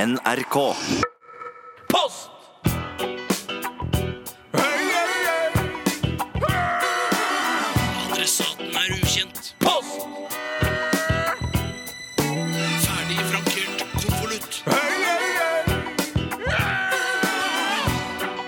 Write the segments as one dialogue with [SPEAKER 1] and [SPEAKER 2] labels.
[SPEAKER 1] NRK.
[SPEAKER 2] Post!
[SPEAKER 3] Adressaten er ukjent.
[SPEAKER 2] Post!
[SPEAKER 3] Ferdig frankert konvolutt.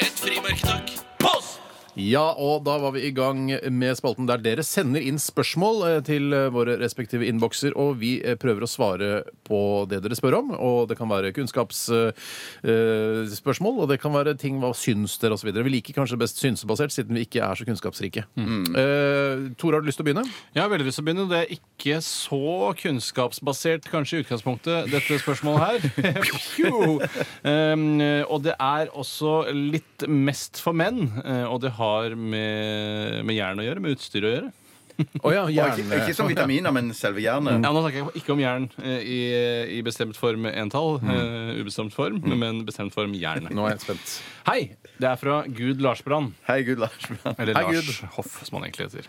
[SPEAKER 3] Et frimerke, takk.
[SPEAKER 2] Post!
[SPEAKER 4] Ja, og da var vi i gang med spalten der dere sender inn spørsmål eh, til eh, våre respektive innbokser, og vi eh, prøver å svare på det dere spør om. Og det kan være kunnskapsspørsmål, og det kan være ting hva syns dere, osv. Vi liker kanskje best synsebasert, siden vi ikke er så kunnskapsrike.
[SPEAKER 5] Mm.
[SPEAKER 4] Eh, Tore, har du lyst til å begynne?
[SPEAKER 6] Jeg har veldig lyst til å begynne. Det er ikke så kunnskapsbasert, kanskje, i utgangspunktet, dette spørsmålet her. Pju! um, og det er også litt mest for menn, eh, og det har med, med jern å gjøre, med utstyr å gjøre.
[SPEAKER 4] Å ja,
[SPEAKER 5] Ikke, ikke som vitaminer, men selve jernet.
[SPEAKER 6] Ja, Nå snakker jeg ikke om jern eh, i, i bestemt form entall, eh, ubestemt form, men bestemt form jern.
[SPEAKER 4] Nå er jeg spent.
[SPEAKER 6] Hei! Det er fra Gud Larsbrand.
[SPEAKER 5] Hei, Gud, Lars.
[SPEAKER 6] Eller
[SPEAKER 4] Hei,
[SPEAKER 6] Lars Hoff, som han egentlig heter.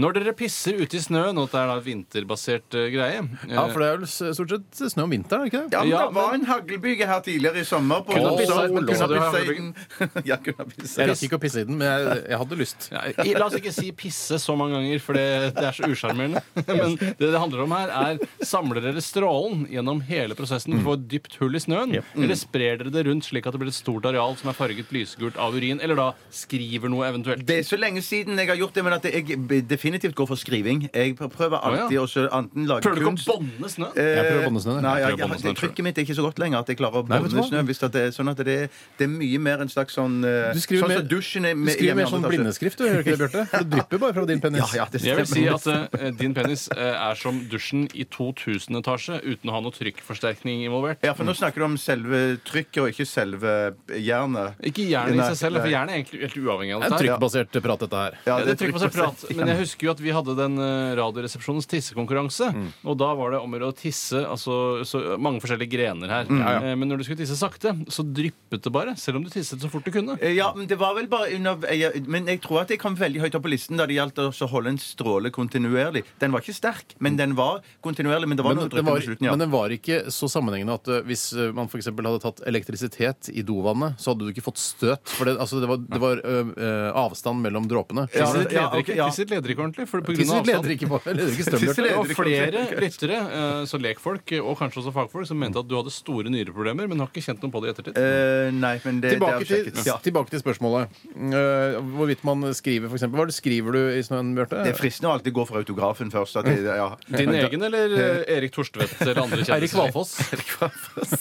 [SPEAKER 6] Når dere pisser ute i snøen, og det er da vinterbasert eh, greie
[SPEAKER 4] Ja, for det er vel s- stort sett snø om vinteren, er det ikke det?
[SPEAKER 5] Ja, men
[SPEAKER 6] Ja,
[SPEAKER 5] det var en haglbyge her tidligere i sommer. På
[SPEAKER 6] Kunne ha
[SPEAKER 5] Åh,
[SPEAKER 6] pissa i den.
[SPEAKER 5] Kunne
[SPEAKER 6] Kunne
[SPEAKER 5] ha
[SPEAKER 6] du ha
[SPEAKER 5] pissa i den. Ja, kunne ha pissa i
[SPEAKER 4] Jeg
[SPEAKER 5] den.
[SPEAKER 4] rakk ikke å pisse i den, men jeg, jeg hadde lyst.
[SPEAKER 6] eh, Ja, i- la oss ikke si pisse så mange ganger, for det, det er så usjarmerende. Men det det handler om her, er samler dere strålen gjennom hele prosessen for et dypt hull i snøen? Eller
[SPEAKER 5] Mm.
[SPEAKER 6] sprer dere det rundt slik at det blir et stort areal som er farget lysegult av urin? Eller da skriver noe eventuelt?
[SPEAKER 5] Det er så lenge siden jeg har gjort det, men at jeg b- definitivt går for skriving. Jeg prøver
[SPEAKER 6] Å,
[SPEAKER 5] alltid
[SPEAKER 6] ja.
[SPEAKER 5] å så enten lage
[SPEAKER 6] Prøver du ikke
[SPEAKER 5] kunst
[SPEAKER 6] å bånde snø?
[SPEAKER 5] Eh,
[SPEAKER 4] Jeg prøver å bonde snø, jeg.
[SPEAKER 5] Nei,
[SPEAKER 6] Jeg
[SPEAKER 5] jeg,
[SPEAKER 6] prøver å bonde snø,
[SPEAKER 5] det
[SPEAKER 6] tror jeg.
[SPEAKER 5] trykket mitt er ikke så godt lenger at jeg klarer å
[SPEAKER 4] Nei, vet du hva?
[SPEAKER 5] bonde snø. Hvis at det, er sånn at det, er- det er mye mer en slags sånn eh,
[SPEAKER 4] Du skriver
[SPEAKER 5] Sånn
[SPEAKER 4] mer,
[SPEAKER 5] som dusjen
[SPEAKER 4] du
[SPEAKER 5] er med-
[SPEAKER 4] skriver
[SPEAKER 5] hjemme i
[SPEAKER 4] mer sånn
[SPEAKER 5] andre etasje.
[SPEAKER 4] blindeskrift, du, gjør du ikke det, Bjarte? For Det drypper bare fra din
[SPEAKER 5] Ja,
[SPEAKER 4] penis.
[SPEAKER 5] ja, det
[SPEAKER 6] Jeg vil si
[SPEAKER 5] stemmer.
[SPEAKER 6] at eh, din penis eh, er som dusjen i 2000 etasje uten å ha noe trykkforsterkning involvert.
[SPEAKER 5] Ja, for nå snakker du om selve trykket og ikke selve jernet.
[SPEAKER 6] Ikke jernet i
[SPEAKER 5] Nei,
[SPEAKER 6] seg selv, for
[SPEAKER 5] nei.
[SPEAKER 6] jernet er egentlig helt uavhengig av
[SPEAKER 4] Det er en
[SPEAKER 6] dette. her.
[SPEAKER 4] trykkbasert prat, dette her.
[SPEAKER 5] Ja,
[SPEAKER 6] Ja, det trykker på seg prat,
[SPEAKER 5] trykker på seg.
[SPEAKER 6] men jeg husker jo at vi hadde den eh, Radioresepsjonens tissekonkurranse. Og da var det om å gjøre å tisse altså, så mange forskjellige grener her. Eh, Men når du skulle tisse sakte, så dryppet det bare. Selv om du tisset så fort du kunne.
[SPEAKER 5] Eh, Ja, men det var vel bare under jeg, Men jeg tror at jeg kom veldig høyt opp på listen da det gjaldt å så holde en stråle kontinuerlig. Den var ikke sterk, men den var kontinuerlig. Men det var
[SPEAKER 4] Men
[SPEAKER 5] noe
[SPEAKER 4] den,
[SPEAKER 5] trykk
[SPEAKER 4] var,
[SPEAKER 5] på slutten, ja.
[SPEAKER 4] men den var ikke så sammenhengende at eh, hvis eh, man f.eks. hadde tatt elektrisitet i dovannet, så hadde du ikke fått støt. For det, altså, det var, det var eh, eh, avstand mellom dråpene.
[SPEAKER 5] Ja,
[SPEAKER 6] Tisset leder,
[SPEAKER 5] ok,
[SPEAKER 6] ikke,
[SPEAKER 5] ja.
[SPEAKER 6] tisset leder ikke ordentlig. For på grunn
[SPEAKER 4] Tisset
[SPEAKER 6] av
[SPEAKER 4] leder
[SPEAKER 6] avstand.
[SPEAKER 4] ikke på leder ikke strøm.
[SPEAKER 5] Tisset
[SPEAKER 4] Bjarte.
[SPEAKER 5] leder-
[SPEAKER 6] Og flere lyttere, eh, så lekfolk og kanskje også fagfolk, som mente at du hadde store nyreproblemer, men har ikke kjent noe på det i ettertid.
[SPEAKER 5] Eh, nei, men det,
[SPEAKER 4] Tilbake
[SPEAKER 5] det er
[SPEAKER 4] til,
[SPEAKER 5] sjekket. ja.
[SPEAKER 4] tilbake til spørsmålet. Eh, hvorvidt man skriver, f.eks. Hva er det skriver du i snøen, Bjarte?
[SPEAKER 5] Det er fristende å alltid gå for autografen først. At det, ja.
[SPEAKER 6] Din egen eller eh, Erik Torstvedt eller andre
[SPEAKER 4] Eirik
[SPEAKER 6] kjendiser?
[SPEAKER 4] Valfoss.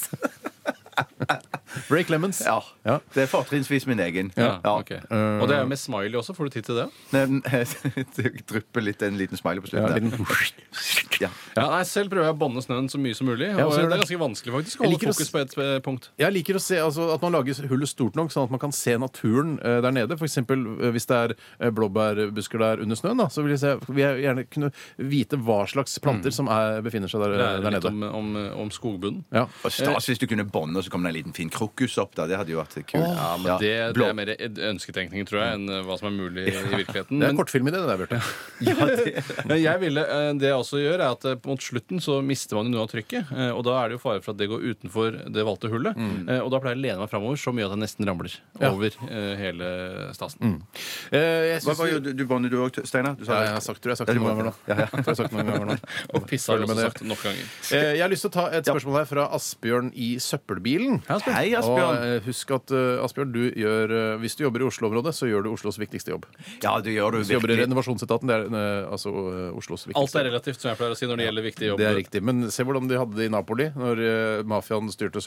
[SPEAKER 4] Break Lemons.
[SPEAKER 5] ja.
[SPEAKER 4] Ja.
[SPEAKER 5] Det er fortrinnsvis min egen.
[SPEAKER 6] Ja, ok. Og det er jo med smiley også. Får du tid til det?
[SPEAKER 5] Men, eh, det drypper litt en liten smiley på
[SPEAKER 4] Ja, en
[SPEAKER 5] slutten. der.
[SPEAKER 4] liten-
[SPEAKER 5] Ja.
[SPEAKER 6] Ja, nei, Selv prøver jeg å banne snøen så mye som mulig.
[SPEAKER 4] Ja,
[SPEAKER 6] og
[SPEAKER 4] så
[SPEAKER 6] Det
[SPEAKER 4] gjør
[SPEAKER 6] er
[SPEAKER 4] det.
[SPEAKER 6] ganske vanskelig faktisk å
[SPEAKER 4] Jeg
[SPEAKER 6] holde
[SPEAKER 4] liker å
[SPEAKER 6] fokus på et eh, punkt.
[SPEAKER 4] Jeg liker å se altså, at man lager hullet stort nok, sånn at man kan se naturen eh, der nede. F.eks. hvis det er eh, blåbærbusker der under snøen, da, så vil jeg, se, vil jeg gjerne kunne vite hva slags planter som Mm. er, befinner seg der, eh,
[SPEAKER 6] Lære
[SPEAKER 4] der
[SPEAKER 6] Eh, litt
[SPEAKER 4] nede.
[SPEAKER 6] om, om, om skogbunnen.
[SPEAKER 4] Ja.
[SPEAKER 5] Og
[SPEAKER 6] Eh.
[SPEAKER 5] stas hvis du kunne bånde, og så kom det en liten fin krokus opp. Da. Det hadde jo vært kult.
[SPEAKER 6] Ja, men det, det
[SPEAKER 5] Blå-
[SPEAKER 6] er mer ed- ønsketenkning, tror jeg, enn eh, hva som er mulig i virkeligheten.
[SPEAKER 4] Det er
[SPEAKER 6] Men-
[SPEAKER 4] en kortfilm i det, det der, Bjarte.
[SPEAKER 6] Men jeg ville, eh, det jeg også gjør, er at eh, mot slutten så mister man jo noe av trykket. eh, Og da er det jo fare for at det går utenfor det valgte hullet. eh, Og da pleier jeg å lene meg framover så mye at jeg nesten ramler
[SPEAKER 4] Mm. Ja.
[SPEAKER 6] over eh, hele stasen.
[SPEAKER 4] Eh, jeg
[SPEAKER 5] Hva
[SPEAKER 4] syns
[SPEAKER 5] var jo, du, du båndet du òg, Steinar? Du sa
[SPEAKER 4] ja,
[SPEAKER 5] det.
[SPEAKER 4] jeg har sagt, tror jeg har sagt
[SPEAKER 5] Ja,
[SPEAKER 4] det
[SPEAKER 5] du
[SPEAKER 4] noen
[SPEAKER 5] må-
[SPEAKER 4] ganger nå. Jeg tror jeg har sagt det noen ganger nå.
[SPEAKER 6] Og pissa har
[SPEAKER 4] Følg
[SPEAKER 6] jeg
[SPEAKER 4] med
[SPEAKER 6] også
[SPEAKER 4] det.
[SPEAKER 6] sagt nok ganger.
[SPEAKER 4] Eh, Jeg har lyst til å ta et spørsmål her fra Asbjørn i Søppelbilen.
[SPEAKER 5] Hei,
[SPEAKER 4] Og
[SPEAKER 5] Asbjørn.
[SPEAKER 4] eh, husk at eh, Asbjørn, du gjør, eh, hvis du jobber i Oslo-området, så gjør du Oslos viktigste jobb.
[SPEAKER 5] Ja, det gjør du
[SPEAKER 4] Hvis du jobber i
[SPEAKER 5] virkelig.
[SPEAKER 4] renovasjonsetaten, det er eh, altså eh, Oslos viktigste
[SPEAKER 6] Alt er relativt, som jeg pleier å si når det gjelder viktige jobber.
[SPEAKER 4] Det er riktig, Men se hvordan de hadde det i Napoli når eh, mafiaen styrte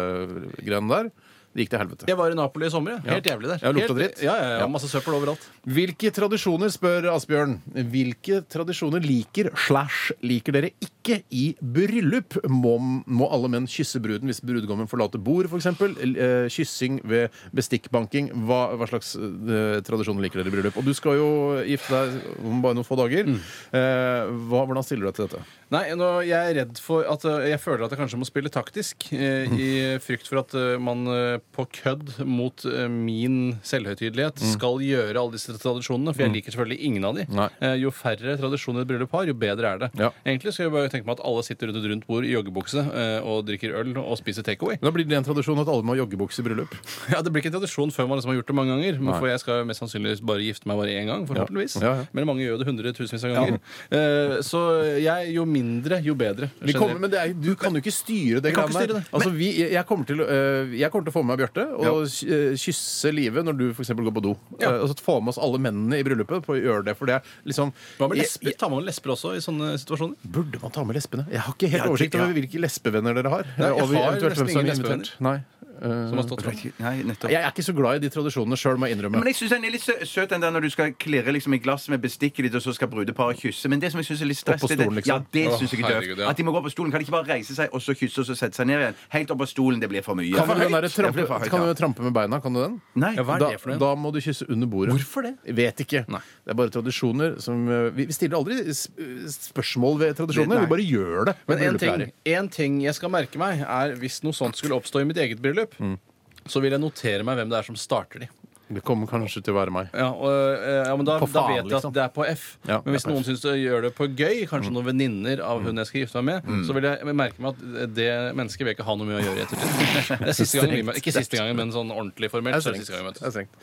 [SPEAKER 4] søppelgreiene der. Det gikk til helvete.
[SPEAKER 6] Jeg var i Napoli i sommer. Ja. Helt jævlig der.
[SPEAKER 4] Ja, lukta
[SPEAKER 6] Helt-
[SPEAKER 4] dritt.
[SPEAKER 6] Ja, ja, ja,
[SPEAKER 4] Ja.
[SPEAKER 6] Masse søppel overalt.
[SPEAKER 4] Hvilke tradisjoner, spør Asbjørn, hvilke tradisjoner liker slash liker dere ikke i bryllup? Må, må alle menn kysse bruden hvis brudgommen forlater bordet, f.eks.? Eh, Kyssing ved bestikkbanking. Hva, hva slags eh, tradisjoner liker dere i bryllup? Og du skal jo gifte deg om bare noen få dager.
[SPEAKER 6] Mm.
[SPEAKER 4] Eh, hva, hvordan stiller du deg til dette?
[SPEAKER 6] Nei, nå, Mm. jeg er redd for at eh, Jeg føler at jeg kanskje må spille taktisk eh, i frykt for at eh, man eh, på kødd mot eh, min selvhøytidelighet skal gjøre alle disse tradisjonene, for jeg liker selvfølgelig ingen av de.
[SPEAKER 4] Nei.
[SPEAKER 6] Eh, Jo færre tradisjoner et bryllup har, jo bedre er det.
[SPEAKER 4] Ja.
[SPEAKER 6] Egentlig skal jeg bare tenke meg at alle sitter rundt et rundt bord i joggebukse eh, og drikker øl og spiser takeaway.
[SPEAKER 4] Da blir det en tradisjon at alle må ha joggebukse i bryllup.
[SPEAKER 6] Ja, det blir ikke en tradisjon før man liksom har gjort det mange ganger. Men
[SPEAKER 4] Nei.
[SPEAKER 6] for jeg skal jo mest sannsynligvis bare gifte meg bare én gang, forhåpentligvis.
[SPEAKER 4] Ja, ja.
[SPEAKER 6] Men mange gjør jo det hundretusenvis av ganger. Eh, så jeg, jo mindre, jo bedre.
[SPEAKER 4] Vi kommer, men det er, du kan jo ikke styre det.
[SPEAKER 6] Jeg kan ikke
[SPEAKER 4] greiene
[SPEAKER 6] styre
[SPEAKER 4] der.
[SPEAKER 6] det.
[SPEAKER 4] Altså, vi, jeg, kommer til, å- øh, jeg kommer til å få med meg Bjarte og øh, kysse Live når du f.eks. går på do. Øh, Og så få med oss alle mennene i bryllupet på å gjøre det. For det er liksom
[SPEAKER 6] Hva med
[SPEAKER 4] Jeg-
[SPEAKER 6] lesber? Tar man lesber også i sånne situasjoner?
[SPEAKER 4] Burde man ta med lesbene? Jeg har ikke helt
[SPEAKER 5] Ja,
[SPEAKER 4] oversikt
[SPEAKER 5] det- ja.
[SPEAKER 4] over hvilke lesbevenner dere har.
[SPEAKER 6] Nei, jeg
[SPEAKER 4] Over
[SPEAKER 6] har
[SPEAKER 4] eventuelt
[SPEAKER 6] nesten
[SPEAKER 4] hvem som er
[SPEAKER 6] ingen
[SPEAKER 4] invitert. Nei. Øh,
[SPEAKER 6] Som har stått fram?
[SPEAKER 5] Nei, nettopp.
[SPEAKER 4] jeg er ikke så glad i de tradisjonene sjøl, må jeg innrømme.
[SPEAKER 5] Men jeg syns den er litt sø- søt, den der når du skal klirre liksom i glass med bestikket ditt, og så skal brudeparet kysse. Men det som jeg syns er litt stress
[SPEAKER 4] Opp på
[SPEAKER 5] det er det-
[SPEAKER 4] stolen, liksom.
[SPEAKER 5] Ja, det
[SPEAKER 6] Å,
[SPEAKER 5] syns jeg er
[SPEAKER 6] herregud,
[SPEAKER 5] døvt.
[SPEAKER 6] ja.
[SPEAKER 5] At de må gå opp på stolen. Kan de ikke bare reise seg, og så kysse, og så sette seg ned igjen? Helt opp på stolen. Det blir for mye.
[SPEAKER 4] Kan du, den der
[SPEAKER 5] Det blir
[SPEAKER 4] trampe,
[SPEAKER 5] for høyt,
[SPEAKER 4] kan
[SPEAKER 5] ja.
[SPEAKER 4] du trampe med beina? Kan du den?
[SPEAKER 5] Nei.
[SPEAKER 6] Ja, hva er
[SPEAKER 4] da,
[SPEAKER 6] det for noe?
[SPEAKER 4] da må du kysse under bordet.
[SPEAKER 6] Hvorfor det?
[SPEAKER 4] Jeg vet ikke.
[SPEAKER 6] Nei.
[SPEAKER 4] Det er bare tradisjoner som eh, Vi vi stiller aldri s- eh, spørsmål ved
[SPEAKER 5] Det-
[SPEAKER 4] tradisjoner.
[SPEAKER 5] nei.
[SPEAKER 4] Vi bare gjør det.
[SPEAKER 6] Men en
[SPEAKER 4] Bryllupet er
[SPEAKER 6] ting,
[SPEAKER 4] i.
[SPEAKER 6] en ting jeg skal merke meg, er hvis noe sånt skulle oppstå i mitt eget bryllup, så vil jeg notere meg hvem det er som starter de.
[SPEAKER 4] Det kommer kanskje til å være meg.
[SPEAKER 6] Ja, og, eh, ja, men da,
[SPEAKER 4] På
[SPEAKER 6] da
[SPEAKER 4] faen,
[SPEAKER 6] vet jeg
[SPEAKER 4] liksom.
[SPEAKER 6] at det er på F. men
[SPEAKER 4] Ja, det
[SPEAKER 6] hvis
[SPEAKER 4] er på
[SPEAKER 6] noen
[SPEAKER 4] F. Mm.
[SPEAKER 6] syns det gjør det på gøy, kanskje noen venninner av hun jeg skal gifte meg med, så vil jeg merke meg at det mennesket vil jeg ikke ha noe med å gjøre i ettertid. Det er siste gangen vi mø- Ikke siste gangen, men sånn ordentlig formelt. så er det siste gangen vi
[SPEAKER 4] Det
[SPEAKER 6] møtes.
[SPEAKER 4] er strengt.